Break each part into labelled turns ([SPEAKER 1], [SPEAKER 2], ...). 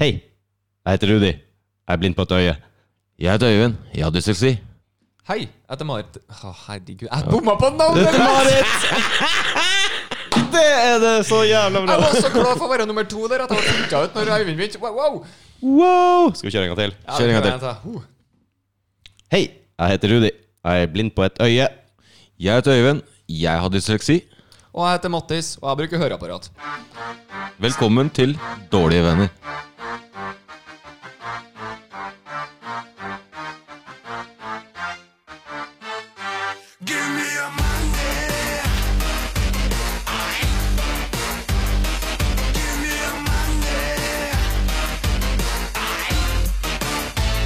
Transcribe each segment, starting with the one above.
[SPEAKER 1] Hei, jeg heter Rudi. Jeg er blind på et øye.
[SPEAKER 2] Jeg heter Øyvind. Jeg har dysleksi.
[SPEAKER 3] Hei, jeg heter Marit. Å, herregud, jeg bomma på navnet!
[SPEAKER 1] Det er det så jævla
[SPEAKER 3] Jeg var så glad for å være nummer to der at jeg var funnet ut når Eivind begynte. Wow, wow.
[SPEAKER 1] Wow! Skal vi kjøre en gang til?
[SPEAKER 3] Ja,
[SPEAKER 2] Kjør en gang
[SPEAKER 3] det
[SPEAKER 2] til.
[SPEAKER 3] kan jeg ta. Ho.
[SPEAKER 1] Hei, jeg heter Rudi. Jeg er blind på et øye.
[SPEAKER 2] Jeg heter Øyvind. Jeg har dysleksi.
[SPEAKER 3] Og jeg heter Mattis, og jeg bruker høreapparat.
[SPEAKER 2] Velkommen til Dårlige venner.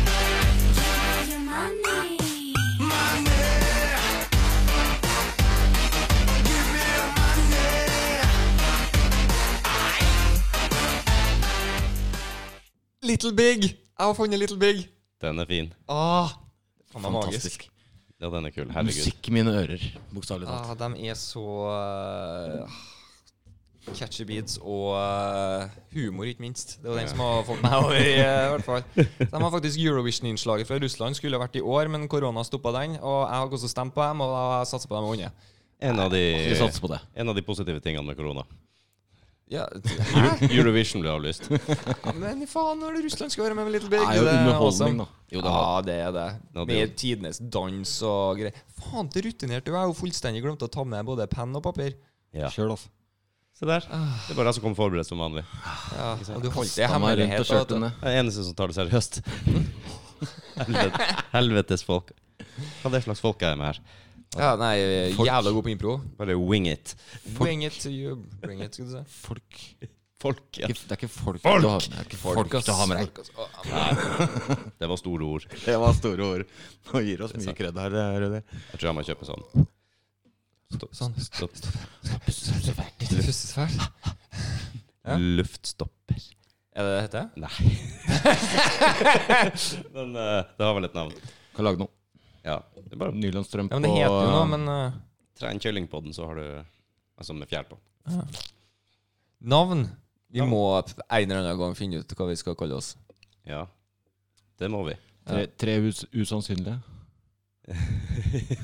[SPEAKER 4] your money.
[SPEAKER 3] Little Big. Jeg har funnet Little Big.
[SPEAKER 1] Den er fin.
[SPEAKER 3] Ah, faen, det er magisk.
[SPEAKER 1] Ja, den er kul. Herregud.
[SPEAKER 2] Musikk i mine ører, bokstavelig talt.
[SPEAKER 3] Ah, de er så eh, catchy beats og eh, humor, ikke minst. Det var den som har fått meg over, i eh, hvert fall. De har faktisk Eurovision-innslaget fra Russland. Skulle vært i år, men korona stoppa den. Og jeg har også stemt på dem, og jeg satser på dem å vinne.
[SPEAKER 1] En av,
[SPEAKER 2] Vi
[SPEAKER 1] de,
[SPEAKER 2] satser på det.
[SPEAKER 1] en av de positive tingene med korona.
[SPEAKER 3] Ja,
[SPEAKER 1] Eurovision ble avlyst.
[SPEAKER 3] men faen, når det Russland skal være med med Little
[SPEAKER 2] Det
[SPEAKER 3] Big
[SPEAKER 2] er jo
[SPEAKER 3] det er
[SPEAKER 2] underholdning,
[SPEAKER 3] awesome.
[SPEAKER 2] da. Jo, det var
[SPEAKER 3] Ja, det er det.
[SPEAKER 1] Ja, det er
[SPEAKER 3] Med tidenes dans og greier. Faen, det rutinerte du. Jeg har jo fullstendig glemt å ta med både penn og papir.
[SPEAKER 1] Ja.
[SPEAKER 2] sjøl, altså.
[SPEAKER 1] Se der. Det er bare jeg som kommer forberedt som vanlig.
[SPEAKER 3] Ja, og du holdt det i
[SPEAKER 2] Da må jeg rundt og
[SPEAKER 3] hemmelighet. da,
[SPEAKER 2] kjørt
[SPEAKER 3] vet du.
[SPEAKER 2] den ned.
[SPEAKER 1] Jeg er den eneste som tar det seriøst. Helvete, helvetes folk. Hva er det slags folk er jeg med her?
[SPEAKER 3] Ja, nei, jævla god på impro.
[SPEAKER 1] Bare wing it.
[SPEAKER 3] Bring it, you bring it, skal du si.
[SPEAKER 2] Folk.
[SPEAKER 1] Folk, ja.
[SPEAKER 2] Ikke- Det er ikke folk Folk! Det er ikke folk
[SPEAKER 3] ass.
[SPEAKER 2] du har med deg.
[SPEAKER 3] Folk, ass. Å, ja,
[SPEAKER 1] Det var store ord. Jeg
[SPEAKER 2] Det var store ord. Nå gir oss mye kred her, eh, Rudi.
[SPEAKER 1] tror jeg må kjøpe sånn. Stopp.
[SPEAKER 3] Sånn.
[SPEAKER 1] Stopp.
[SPEAKER 3] Litt pustesfæl. Ja.
[SPEAKER 1] Luftstopper.
[SPEAKER 3] Er det det heter?
[SPEAKER 1] Nei. Men eh, det har vel et navn.
[SPEAKER 2] Kan lage noe.
[SPEAKER 1] Ja. Det er bare
[SPEAKER 2] Nylonstrømpe
[SPEAKER 3] Ja, men det heter jo noe,
[SPEAKER 2] og
[SPEAKER 3] men eh,
[SPEAKER 1] tre en kylling på den, så har du Altså med fjær på.
[SPEAKER 3] Navn? Vi må en eller annen gang finne ut hva vi skal kalle oss.
[SPEAKER 1] Ja. Det må vi.
[SPEAKER 2] eh, Tre, tre us usannsynlige.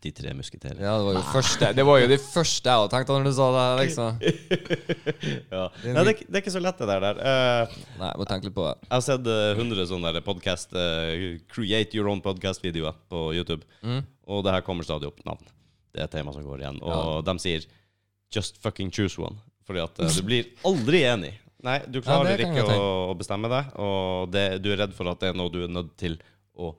[SPEAKER 1] De tre musketerer.
[SPEAKER 3] Ja, det var jo første Det var jo det første jeg hadde tenkt da når du sa det. liksom
[SPEAKER 1] Ja. Nei, det, er ikke- det er ikke så lett, det der. der. Eh,
[SPEAKER 3] Nei, jeg må tenke litt på det.
[SPEAKER 1] Jeg har sett eh, 100 sånne der podcast eh, Create your own podcast-videoer på YouTube.
[SPEAKER 3] Mm.
[SPEAKER 1] Og det her kommer stadig opp navn. Det er et tema som går igjen. Og de sier 'just fucking choose one'. Fordi at eh, du blir aldri enig. Nei, du klarer
[SPEAKER 3] det kan
[SPEAKER 1] ikke
[SPEAKER 3] jeg
[SPEAKER 1] å, å bestemme deg, og det, du er redd for at det er noe du er nødt til å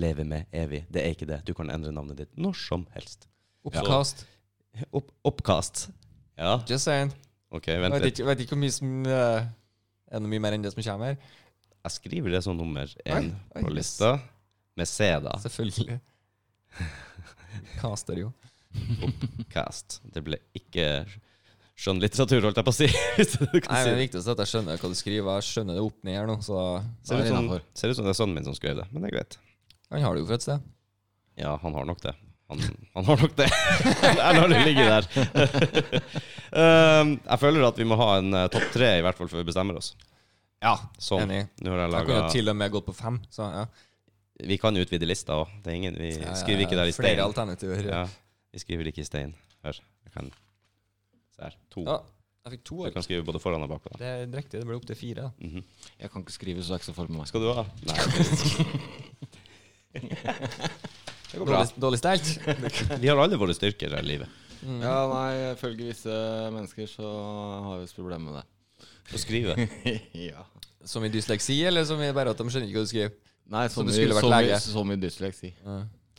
[SPEAKER 1] leve med evig. Det er ikke det. Du kan endre navnet ditt når som helst.
[SPEAKER 3] Oppkast.
[SPEAKER 1] Opp, oppkast. Ja,
[SPEAKER 3] Just saying.
[SPEAKER 1] OK,
[SPEAKER 3] Jeg
[SPEAKER 1] vent
[SPEAKER 3] vet
[SPEAKER 1] litt.
[SPEAKER 3] ikke, vet ikke hvor mye som eh, Er det mye mer enn det som kommer her?
[SPEAKER 1] Jeg skriver det som nummer én
[SPEAKER 3] Oi, oi,
[SPEAKER 1] på
[SPEAKER 3] yes.
[SPEAKER 1] lista. Med C, da.
[SPEAKER 3] Selvfølgelig. Kaster, jo.
[SPEAKER 1] Cast. Det ble ikke skjønnlitteratur, holdt jeg på å si. Hvis du
[SPEAKER 3] Nei,
[SPEAKER 1] kan
[SPEAKER 3] men Det
[SPEAKER 1] si. det.
[SPEAKER 3] viktigste er at jeg skjønner hva du skriver. Jeg skjønner det opp ned her nå, så
[SPEAKER 1] Ser ut,
[SPEAKER 2] Nei,
[SPEAKER 1] som,
[SPEAKER 2] innenfor.
[SPEAKER 1] ser ut som det er sønnen min som skrev det, men det er greit.
[SPEAKER 3] han har det jo fra et sted.
[SPEAKER 1] Ja, han har nok det. Han, han har nok det. Jeg lar det ligge der. um, jeg føler at vi må ha en eh, topp tre, i hvert fall før vi bestemmer oss.
[SPEAKER 3] Ja,
[SPEAKER 1] Sånn.
[SPEAKER 3] Enig.
[SPEAKER 1] Nå har jeg
[SPEAKER 3] Jeg kunne jo
[SPEAKER 1] laget-
[SPEAKER 3] til og med gått på fem. Så, ja.
[SPEAKER 1] Vi kan jo utvide lista òg. Vi skriver ikke der i
[SPEAKER 3] Flere
[SPEAKER 1] stein.
[SPEAKER 3] alternativer. Ja.
[SPEAKER 1] Ja, vi skriver ikke i stein. Hør. Jeg kan Se her. To.
[SPEAKER 3] jeg fikk to.
[SPEAKER 1] Du kan skrive både foran og bakpå.
[SPEAKER 3] Det er riktig, det ble opp til fire. Da.
[SPEAKER 2] Jeg kan ikke skrive, så det er ikke så for meg.
[SPEAKER 1] Skal du ha? Nei. Det går bra.
[SPEAKER 3] Dårlig, dårlig stelt.
[SPEAKER 1] Vi har alle våre styrker her i livet.
[SPEAKER 2] Ja, nei, ifølge visse mennesker så har vi et problem med det.
[SPEAKER 1] Å skrive.
[SPEAKER 2] ja.
[SPEAKER 3] Som i dysleksi, eller som i bare at de skjønner ikke hva du skriver?
[SPEAKER 2] Nei, som,
[SPEAKER 3] du
[SPEAKER 2] i-
[SPEAKER 3] skulle vært
[SPEAKER 2] som, i-
[SPEAKER 3] lege.
[SPEAKER 2] som i dysleksi.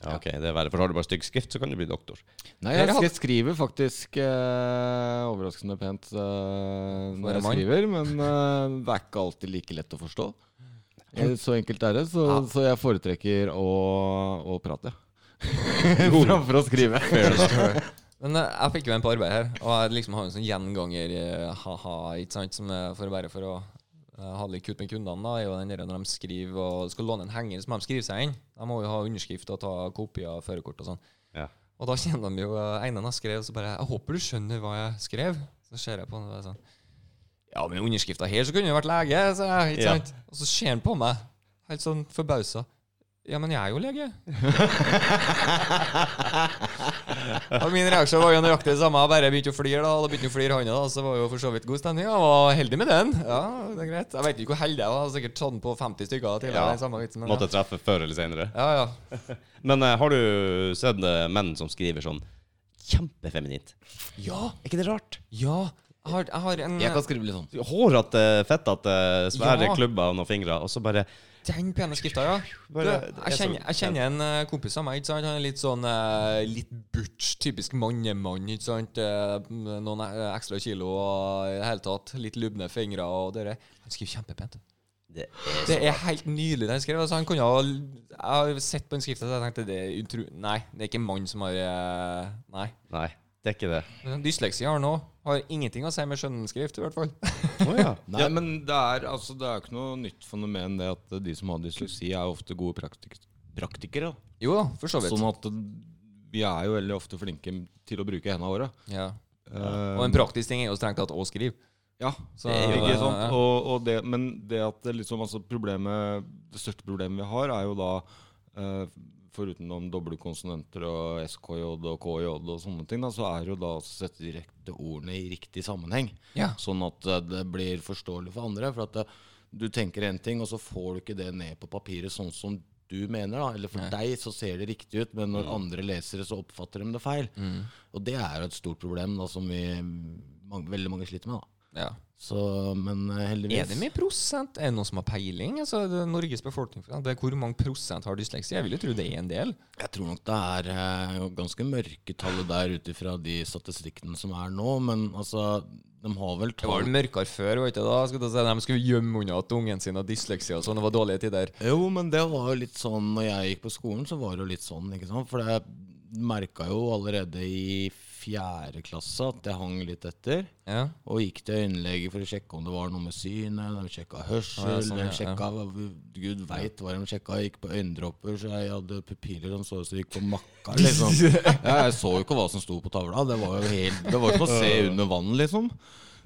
[SPEAKER 1] Ja, ok, det er verre. For har du bare stygg skrift, så kan du bli doktor.
[SPEAKER 2] Nei, jeg,
[SPEAKER 3] Dere hadde-
[SPEAKER 2] skri- skriver faktisk eh, overraskende pent eh, når
[SPEAKER 3] en
[SPEAKER 2] jeg
[SPEAKER 3] mann.
[SPEAKER 2] skriver, men eh, det er ikke alltid like lett å forstå. Eh, Så enkelt er det, så, så jeg foretrekker å, å prate. Framfor å skrive.
[SPEAKER 3] Men eh, jeg fikk jo en på arbeid her, og jeg liksom har en sånn gjenganger eh, ha-ha, ikke sant, som er for bare for å eh, ha det litt kutt med kundene, da, er jo den der når de skriver og skal låne en henger, så må de skrive seg inn. De må jo ha underskrift og ta kopi av førerkort og sånn.
[SPEAKER 1] Ja.
[SPEAKER 3] Og da kjenner de jo eh, Einan har skrevet, så bare Jeg håper du skjønner hva jeg skrev. Så ser jeg på han og er sånn Ja, men underskrifta her, så kunne du vært lege, sa jeg. Ikke
[SPEAKER 1] Ja.
[SPEAKER 3] sant? Og så ser han på meg, helt sånn forbausa. Ja, men jeg er jo lege. og min reaksjon var jo nøyaktig det samme. Jeg bare begynte å flire, da. Og da begynte han å flire, han òg, så var jo for så vidt god stemning. Jeg var heldig med den. Ja, det er greit. Jeg vet ikke hvor heldig jeg var. Jeg har Sikkert tatt den på 50 stykker tidligere.
[SPEAKER 1] Ja.
[SPEAKER 3] den samme vitsen, men
[SPEAKER 1] Måtte treffe før eller senere.
[SPEAKER 3] ja. ja, ja.
[SPEAKER 1] Men eh, har du sett eh, menn som skriver sånn kjempefeminint?
[SPEAKER 3] Ja!
[SPEAKER 1] Er ikke det rart?
[SPEAKER 3] Ja! Jeg har, jeg har en
[SPEAKER 2] Jeg kan skrive litt sånn.
[SPEAKER 1] Hårete, fettete, svære
[SPEAKER 3] Ja.
[SPEAKER 1] klubber og noen fingre, og så bare
[SPEAKER 3] Den pene skrifta, ja. Du,
[SPEAKER 1] Bare- det er
[SPEAKER 3] jeg, kjenner,
[SPEAKER 1] så-
[SPEAKER 3] jeg kjenner en eh, kompis av meg. ikke sant? Han er litt sånn eh, litt butch, typisk mannemann. ikke sant? Eh, Noen eh, ekstra kilo og i det hele tatt litt lubne fingre og det der. Han skriver kjempepent.
[SPEAKER 1] det,
[SPEAKER 3] Det er helt nydelig, det han skrev. Altså, han kunne ha, jeg har sett på den skrifta og jeg tenkte det er utro... Nei, det er ikke en mann som har eh, Nei.
[SPEAKER 1] Nei, det er ikke det.
[SPEAKER 3] Men Dysleksi har han òg. Har ingenting å si med skjønnskrift, i hvert fall.
[SPEAKER 1] Å ja.
[SPEAKER 2] Nei, men det er, altså, det er jo ikke noe nytt fenomen det at de som har dysleksi, er ofte gode praktik praktikere. da.
[SPEAKER 3] Jo da, for så vidt.
[SPEAKER 2] Sånn at vi er jo veldig ofte flinke til å bruke hendene våre.
[SPEAKER 3] Ja.
[SPEAKER 2] Eh,
[SPEAKER 3] Og en praktisk ting er jo strengt tatt å skrive.
[SPEAKER 2] Ja,
[SPEAKER 3] Så-
[SPEAKER 2] ikke sant?
[SPEAKER 3] Ja.
[SPEAKER 2] Og, og det, men det at det liksom, altså problemet, det største problemet vi har, er jo da eh, Foruten om doble konsonanter og SKJ og KJ og sånne ting, da, så er det jo da å sette de rette ordene i riktig sammenheng.
[SPEAKER 3] Ja.
[SPEAKER 2] Sånn at eh, det blir forståelig for andre. For at eh, du tenker én ting, og så får du ikke det ned på papiret sånn som du mener. da Eller for deg så ser det riktig ut, men når andre lesere så oppfatter de det feil. Og det er jo et stort problem da som vi, mange, veldig mange sliter med. da
[SPEAKER 3] Ja.
[SPEAKER 2] så, men eh, heldigvis
[SPEAKER 3] Er det mye prosent? Er det noen som har peiling? Altså, det er Norges befolkning, for eksempel. Hvor mange prosent har dysleksi? Jeg vil jo tro det er en del.
[SPEAKER 2] Jeg tror nok det er eh, ganske mørketallet der ut ifra de statistikkene som er nå. Men altså, de har vel
[SPEAKER 3] Det var
[SPEAKER 2] tall
[SPEAKER 3] vel mørkere før, var det ikke da? Skulle jeg si, de skulle gjemme unna at ungen sin har dysleksi og sånn. Det var dårlige tider.
[SPEAKER 2] Jo, men det var jo litt sånn Når jeg gikk på skolen, så var det jo litt sånn, ikke sant. For jeg merka jo allerede i fjerde klasse at jeg hang litt etter.
[SPEAKER 3] Ja.
[SPEAKER 2] Og gikk til øyelege for å sjekke om det var noe med synet. De sjekka hørsel.
[SPEAKER 3] Å, ja, sånn,
[SPEAKER 2] de
[SPEAKER 3] ja,
[SPEAKER 2] sjekka, Gud veit hva de sjekka. Jeg gikk på øyendråper, så jeg hadde pupiller som så ut som de gikk på makka. Liksom. Ja, jeg så jo ikke hva som sto på tavla. Det var jo helt, det var jo som å se under vann, liksom.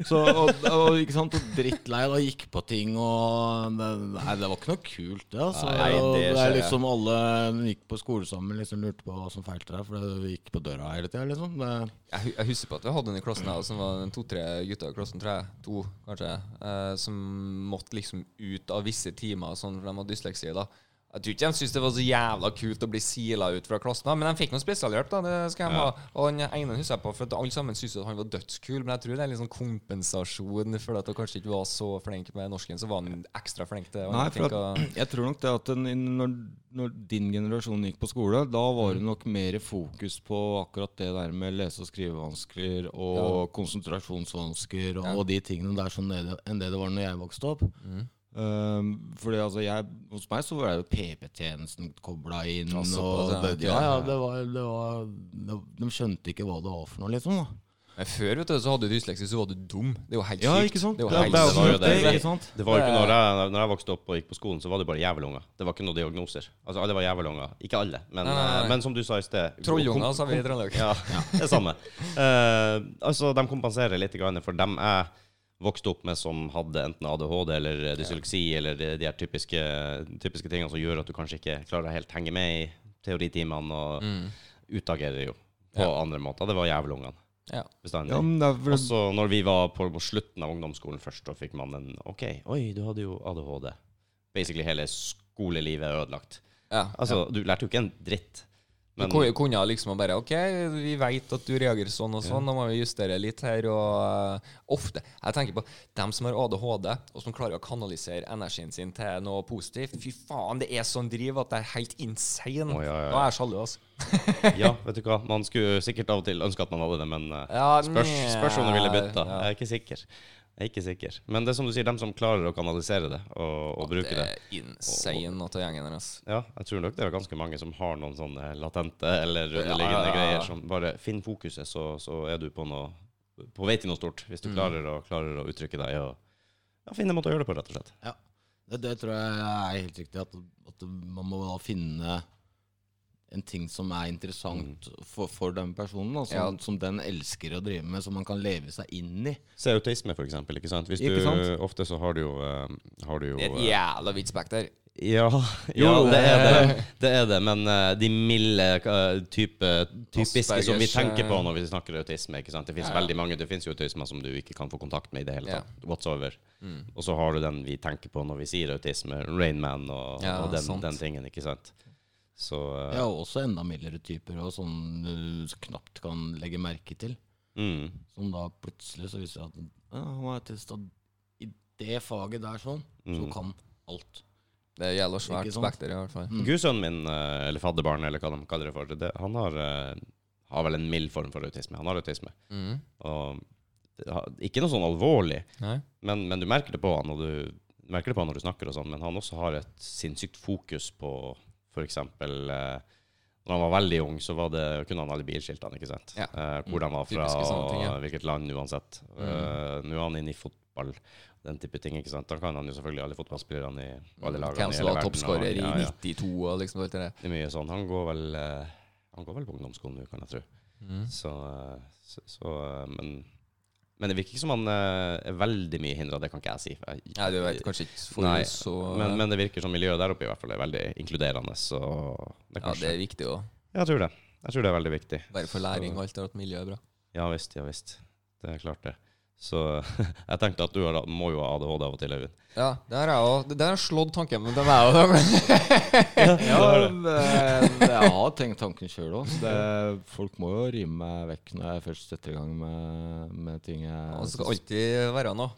[SPEAKER 2] Så, og, og, ikke sant? og drittlei da gikk på ting og det, Nei, det var ikke noe kult, det. Altså.
[SPEAKER 1] Nei, det
[SPEAKER 2] Og det er
[SPEAKER 1] skjer, ja.
[SPEAKER 2] liksom alle vi gikk på skole sammen liksom lurte på hva som feilte deg, for det gikk på døra hele tida, liksom. Det,
[SPEAKER 3] Jeg, hu- jeg husker på at vi hadde en i klassen her, som var en to-tre gutter i klassen, tror jeg, to kanskje, eh, som måtte liksom ut av visse timer, og sånn, for de hadde dysleksi. da. Jeg tror ikke de syntes det var så jævla kult å bli sila ut fra klassen, da, men de fikk noe spesialhjelp. da, det skal de ha. Og han ene husker jeg på, for at alle sammen syntes at han var dødskul, men jeg tror det er litt sånn kompensasjon for at han kanskje ikke var så flink med norsken, så var han ekstra flink til
[SPEAKER 2] Nei,
[SPEAKER 3] andre
[SPEAKER 2] for
[SPEAKER 3] ting.
[SPEAKER 2] at,
[SPEAKER 3] og-
[SPEAKER 2] jeg tror nok det at den, når, når din generasjon gikk på skole, da var det nok mer fokus på akkurat det der med lese- og skrivevansker og konsentrasjonsvansker og, og de tingene der som det, enn det det var når jeg vokste opp. Um, fordi altså jeg, Hos meg så var det jo PP-tjenesten kobla inn.
[SPEAKER 3] Ja, såpass,
[SPEAKER 2] og
[SPEAKER 3] ja,
[SPEAKER 2] det,
[SPEAKER 3] ok,
[SPEAKER 2] ja, ja,
[SPEAKER 3] ja.
[SPEAKER 2] det var, det var det, De skjønte ikke hva det var for noe, liksom. da
[SPEAKER 3] Men før vet du, så hadde du dysleksi, så var du dum. Det er jo helt
[SPEAKER 2] Ja,
[SPEAKER 3] sykt.
[SPEAKER 2] ikke sant?
[SPEAKER 3] Det
[SPEAKER 2] Det
[SPEAKER 3] er jo
[SPEAKER 2] er-
[SPEAKER 1] Det var jo
[SPEAKER 2] det er
[SPEAKER 3] helt
[SPEAKER 2] absolutt
[SPEAKER 1] det.
[SPEAKER 2] det, ikke sant?
[SPEAKER 1] Det var jo ikke når jeg, når jeg vokste opp og gikk på skolen, så var det bare jævelunger. Det var ikke noen diagnoser. Altså, alle var jævelunger. Ikke alle, men, eh,
[SPEAKER 3] Nei, nei, nei.
[SPEAKER 1] men som du sa i sted
[SPEAKER 3] Trollunger, sa vi i Trøndelag.
[SPEAKER 1] Ja, det samme. Eh, altså, de kompenserer litt grann for dem jeg vokste opp med som hadde enten ADHD eller dysleksi eller de de her typiske, typiske tingene som gjør at du kanskje ikke klarer å helt henge med i teoritimene, og
[SPEAKER 3] Mm.
[SPEAKER 1] utagerer jo på andre måter. Det var jævelungene
[SPEAKER 3] Ja.
[SPEAKER 1] bestandig.
[SPEAKER 2] det er
[SPEAKER 1] Og så når vi var på, på slutten av ungdomsskolen først, og fikk man en OK, oi, du hadde jo ADHD. Basically hele skolelivet er ødelagt.
[SPEAKER 3] Ja.
[SPEAKER 1] Altså, du lærte jo ikke en dritt. Men
[SPEAKER 3] du ku- kunne liksom bare OK, vi vet at du reagerer sånn og sånn, nå må vi justere litt her. Og eh, ofte Jeg tenker på dem som har ADHD, og som klarer å kanalisere energien sin til noe positivt. Fy faen, det er sånn driv at det er helt insane.
[SPEAKER 1] Å, ja, ja, ja.
[SPEAKER 3] Da er jeg sjalu, altså.
[SPEAKER 1] ja, vet du hva, man skulle sikkert av og til ønske at man hadde det, men eh,
[SPEAKER 3] Ja,
[SPEAKER 1] spørs,
[SPEAKER 3] nja,
[SPEAKER 1] spørs om du ville bytta.
[SPEAKER 3] ja.
[SPEAKER 1] Jeg er ikke sikker. Jeg er ikke sikker. Men det er som du sier, dem som klarer å kanalisere det og, og bruke
[SPEAKER 3] Det
[SPEAKER 1] det.
[SPEAKER 3] er insane at det er gjengen deres.
[SPEAKER 1] Ja, jeg tror nok det er ganske mange som har noen sånne latente eller underliggende
[SPEAKER 3] Ja, ja, ja.
[SPEAKER 1] greier som bare Finn fokuset, så, så er du på noe På vei til noe stort, hvis du
[SPEAKER 3] Mm.
[SPEAKER 1] klarer, å, klarer å uttrykke deg og ja, finne en måte å gjøre det på, rett og slett.
[SPEAKER 2] Ja, det, det tror jeg er helt riktig. At, at man må da finne en ting som er interessant for, for den personen, da, som,
[SPEAKER 3] Ja.
[SPEAKER 2] som den elsker å drive med, som man kan leve seg inn i.
[SPEAKER 1] Se autisme, for eksempel. Ikke sant? Hvis du,
[SPEAKER 2] Ikke sant?
[SPEAKER 1] Ofte så har du jo, eh, har du jo
[SPEAKER 3] Det er
[SPEAKER 1] eh,
[SPEAKER 3] et jævla vidt spekter.
[SPEAKER 1] Ja, jo,
[SPEAKER 3] Ja,
[SPEAKER 1] det er
[SPEAKER 3] det-
[SPEAKER 1] det. det er det. Men eh, de milde eh, type, typiske som vi
[SPEAKER 3] Aspergers,
[SPEAKER 1] tenker på
[SPEAKER 3] eh,
[SPEAKER 1] når vi snakker autisme ikke sant? Det fins
[SPEAKER 3] Ja, ja.
[SPEAKER 1] veldig mange. Det fins jo autismer som du ikke kan få kontakt med i det hele
[SPEAKER 3] Ja. Mm.
[SPEAKER 1] tatt. Whatsoever. Og så har du den vi tenker på når vi sier autisme. Rainman og,
[SPEAKER 3] Ja,
[SPEAKER 1] og den,
[SPEAKER 3] sant.
[SPEAKER 1] den tingen, ikke sant. Så eh,
[SPEAKER 2] Ja, og også enda mildere typer, og som du knapt kan legge merke til.
[SPEAKER 1] mm.
[SPEAKER 2] Som da plutselig så viser det at ja, han er til stede i det faget der sånn, så
[SPEAKER 1] Mm.
[SPEAKER 2] kan alt.
[SPEAKER 3] Det gjelder svært
[SPEAKER 2] Ikke sant?
[SPEAKER 3] spekter, i hvert fall.
[SPEAKER 2] Mm.
[SPEAKER 1] Gudsønnen min, eh, eller fadderbarnet, eller hva de kaller det for, det, han har, eh, har vel en mild form for autisme. Han har autisme.
[SPEAKER 3] Mm.
[SPEAKER 1] Og det har- ikke noe sånn alvorlig,
[SPEAKER 3] Nei.
[SPEAKER 1] men, men du merker det på han, og du du merker det på han når du snakker og sånn, men han også har et sinnssykt fokus på for eksempel eh, når han var veldig ung, så var det, kunne han alle bilskiltene, ikke sant?
[SPEAKER 3] Ja. Mm.
[SPEAKER 1] Eh, hvor han var fra,
[SPEAKER 3] Typiske sånne ting, ja. Mm.
[SPEAKER 1] og hvilket land uansett. Eh, Nå er han inne i fotball, den type ting, ikke sant? Da kan han jo selvfølgelig alle fotballspillerne i alle lagene
[SPEAKER 3] Mm. Hvem
[SPEAKER 1] i hele
[SPEAKER 3] som var
[SPEAKER 1] verden, og-
[SPEAKER 3] toppskårer i
[SPEAKER 1] ja, ja.
[SPEAKER 3] 92 og liksom alt det der.
[SPEAKER 1] Det er mye sånn. Han går vel, eh, han går vel på ungdomsskolen nå, kan jeg tro.
[SPEAKER 3] Mm.
[SPEAKER 1] Så, eh, så, så eh, men, men det virker ikke som han eh, er veldig mye hindra, det kan ikke jeg si. for Jeg,
[SPEAKER 3] Nei, du vet kanskje ikke for
[SPEAKER 1] Nei,
[SPEAKER 3] så
[SPEAKER 1] men, men det virker som miljøet der oppe i hvert fall er veldig inkluderende. Så det er
[SPEAKER 3] Ja, det
[SPEAKER 1] kanskje
[SPEAKER 3] er viktig òg.
[SPEAKER 1] Jeg tror det. Jeg tror det er veldig viktig.
[SPEAKER 3] Bare for læring og alt det at miljøet er bra.
[SPEAKER 1] Ja visst, ja visst. Det er klart, det. Så jeg tenkte at du har, må jo ha ADHD av og til, Øyvind.
[SPEAKER 3] Ja, det har jeg òg. Den har slått tanken min til meg òg.
[SPEAKER 2] Ja, men eh, jeg har tenkt tanken sjøl òg. Folk må jo rive meg vekk når jeg først setter i gang med, med ting jeg
[SPEAKER 3] Det skal alltid være noe.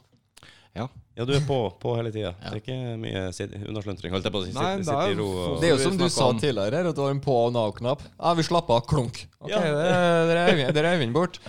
[SPEAKER 2] Ja.
[SPEAKER 1] Ja, du er på, på hele tida. Det er ikke mye sit- unnaslentring, holdt jeg på å si. Sitte,
[SPEAKER 2] Nei, det er
[SPEAKER 1] sitte i
[SPEAKER 2] jo
[SPEAKER 1] ro
[SPEAKER 2] for-
[SPEAKER 1] og
[SPEAKER 3] Det er jo som
[SPEAKER 2] Vi
[SPEAKER 3] du
[SPEAKER 2] snakket
[SPEAKER 3] sa
[SPEAKER 2] om-
[SPEAKER 3] tidligere, her, at du har en på- og av-knapp. Ja, vi slapper av. Klunk. Ok,
[SPEAKER 1] Ja.
[SPEAKER 3] det er- der er Øyvind- der er Øyvind bort.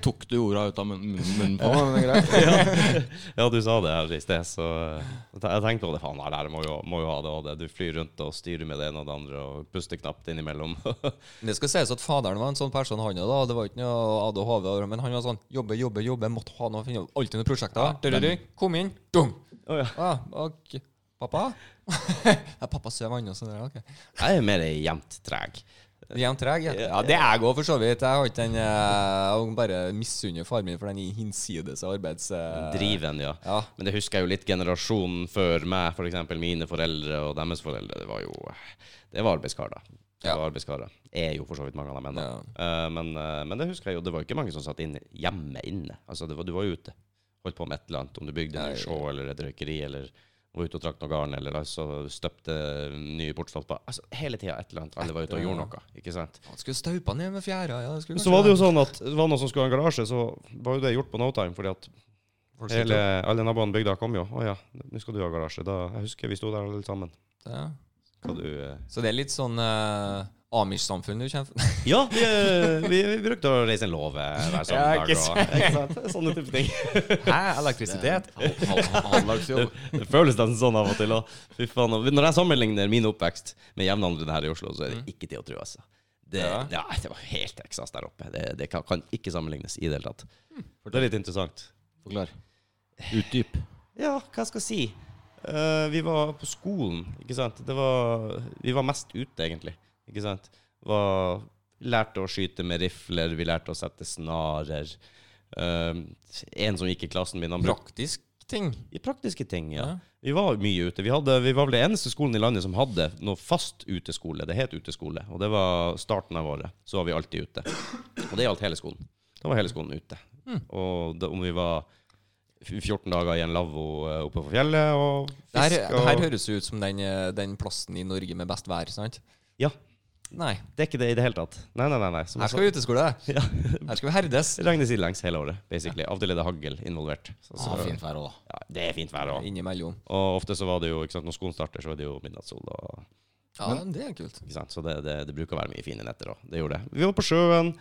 [SPEAKER 2] Tok du orda ut av mun- munnen på meg? Men det er greit.
[SPEAKER 1] Ja, du sa det her i sted, så eh, jeg tenkte på det. Faen, her, her må, jo, må jo ha det og det. Du flyr rundt og styrer med det ene og det andre og puster knapt innimellom.
[SPEAKER 3] Det skal sies at faderen var en sånn person, han òg, da. Det var ikke noe ADHD, over, men han var sånn jobbe, jobbe, jobbe, måtte ha noe, finne alltid noen prosjekter. Dørøring, kom inn, dum!
[SPEAKER 1] Å, ja.
[SPEAKER 3] Ah, ok. Pappa? ja, pappa sover ennå, så det er sånn ok.
[SPEAKER 1] Jeg er mer jevnt treg.
[SPEAKER 3] Jevnt treg? Ja. ja, det er jeg òg, for så vidt. Jeg har ikke den eh, Jeg bare misunner faren min for den hinsides arbeids... eh,
[SPEAKER 1] Driven, ja.
[SPEAKER 3] Ja.
[SPEAKER 1] Men det husker jeg jo litt generasjonen før meg, for eksempel mine foreldre og deres foreldre. Det var jo eh, Det var arbeidskarer. Det
[SPEAKER 3] Ja.
[SPEAKER 1] var arbeidskarer. Er jo for så vidt mange av dem ennå.
[SPEAKER 3] Ja.
[SPEAKER 1] Eh, men, eh, men det husker jeg jo, det var jo ikke mange som satt inne, hjemme inne. Altså, det var, du var jo ute. Holdt på med et eller annet. Om du bygde en
[SPEAKER 3] Nei.
[SPEAKER 1] ny show eller et røykeri eller var ute og trakk noe garn eller altså, støpte nye bortstolper. Altså, hele tida et eller annet. Alle var ute og gjorde noe. ikke sant?
[SPEAKER 3] Han skulle staupa ned med fjæra. Ja, det skulle
[SPEAKER 1] Så var det jo sånn at det var noen som skulle ha en garasje, så var jo det gjort på no time. fordi at hele, alle naboene i bygda kom jo. 'Å ja, nå skal du ha garasje.' Da, jeg husker vi sto der alle sammen.
[SPEAKER 3] Ja.
[SPEAKER 1] Skal du... eh,
[SPEAKER 3] Så det er litt sånn eh, Amish-samfunn du kjenner fra?
[SPEAKER 1] Ja, vi, eh, vi, vi brukte å reise en låve hver
[SPEAKER 3] Ja,
[SPEAKER 1] søndag.
[SPEAKER 3] ikke
[SPEAKER 1] og, ikke sant? Sånne type ting.
[SPEAKER 3] Hæ, elektrisitet?
[SPEAKER 2] Halvdagsjobb.
[SPEAKER 1] Det føles nesten sånn av og til. Og, fy faen, og når jeg sammenligner min oppvekst med jevnaldrende her i Oslo, så er det ikke til å tro, altså. Det,
[SPEAKER 3] Ja.
[SPEAKER 1] ja, det var helt Texas der oppe. Det, det kan, kan ikke sammenlignes i det hele tatt. Det er litt interessant.
[SPEAKER 2] Forklar. Utdyp.
[SPEAKER 1] Ja, hva skal jeg si? Eh, vi var på skolen, ikke sant? Det var, vi var mest ute, egentlig. Ikke sant? Var, lærte å skyte med rifler, vi lærte å sette snarer. Eh, en som gikk i klassen min, han brukte
[SPEAKER 3] Praktisk ting.
[SPEAKER 1] i praktiske ting, ja.
[SPEAKER 3] Ja.
[SPEAKER 1] Vi var mye ute. Vi, hadde, vi var vel den eneste skolen i landet som hadde noe fast uteskole. Det het uteskole, og det var starten av året. Så var vi alltid ute. Og det gjaldt hele skolen. Da var hele skolen ute.
[SPEAKER 3] Hmm.
[SPEAKER 1] Og da, om vi var f- 14 dager i en lavvo eh, oppe på fjellet og fisk
[SPEAKER 3] Det her, det her
[SPEAKER 1] og
[SPEAKER 3] høres jo ut som den, eh, den plassen i Norge med best vær, sant?
[SPEAKER 1] Ja.
[SPEAKER 3] Nei.
[SPEAKER 1] Det er ikke det i det hele tatt. Nei, nei, nei. nei. Som jeg
[SPEAKER 3] Her skal vi uteskole.
[SPEAKER 1] sa- ja.
[SPEAKER 3] Her skal vi herdes.
[SPEAKER 1] Det regner sidelengs hele året, basically. Av og til er det hagl involvert. Så, så,
[SPEAKER 2] Ah, fint vær òg, da.
[SPEAKER 1] ja, det er fint vær òg.
[SPEAKER 3] Innimellom.
[SPEAKER 1] Og ofte så var det jo, ikke sant, når skolen starter, så er det jo midnattssol. og...
[SPEAKER 3] Ja, det er kult.
[SPEAKER 1] Ikke sant? Så det, det, det bruker å være mye fine netter òg. Det gjorde det. Vi var på sjøen,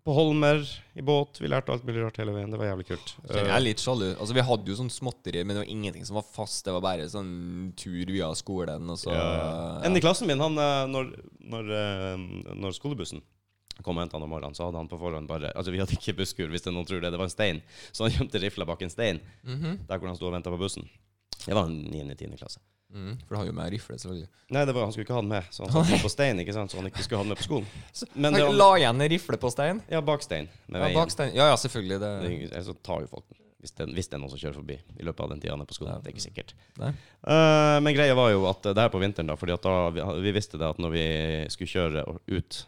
[SPEAKER 1] på Holmer, i båt. Vi lærte alt mulig rart hele veien. Det var jævlig kult.
[SPEAKER 3] Jeg er litt sjalu. Altså, vi hadde jo sånn småtteri, men det var ingenting som var fast. Det var bare sånn tur via skolen, og så
[SPEAKER 1] Eh, En i klassen min, han, eh, når, når, eh, når skolebussen kom og henta han om morgenen, så hadde han på forhånd bare Altså, vi hadde ikke busskur, hvis det er noen tror det. Det var en stein.
[SPEAKER 3] Mhm.
[SPEAKER 1] Så han gjemte rifla bak en stein, der hvor han sto og venta på bussen. Det var en 9.-10. klasse.
[SPEAKER 3] Mm, for det har jo med rifle, selvfølgelig.
[SPEAKER 1] Nei, det var, han skulle ikke ha den med, så han satte den på stein, ikke sant? Så han ikke skulle ha den med på skolen. Men det,
[SPEAKER 3] Han la igjen en rifle på stein?
[SPEAKER 1] ja, bak stein. Med
[SPEAKER 3] Ja,
[SPEAKER 1] veien.
[SPEAKER 3] bak stein. Ja, ja, selvfølgelig. Det,
[SPEAKER 1] Det er ingen- Så tar jo folk den. Hvis, den, hvis det er noen som kjører forbi i løpet av den tida han er på skolen. Det er ikke sikkert.
[SPEAKER 3] Nei.
[SPEAKER 1] Eh, men greia var jo at eh, det her på vinteren, da, fordi at da vi, vi visste det at når vi skulle kjøre o- ut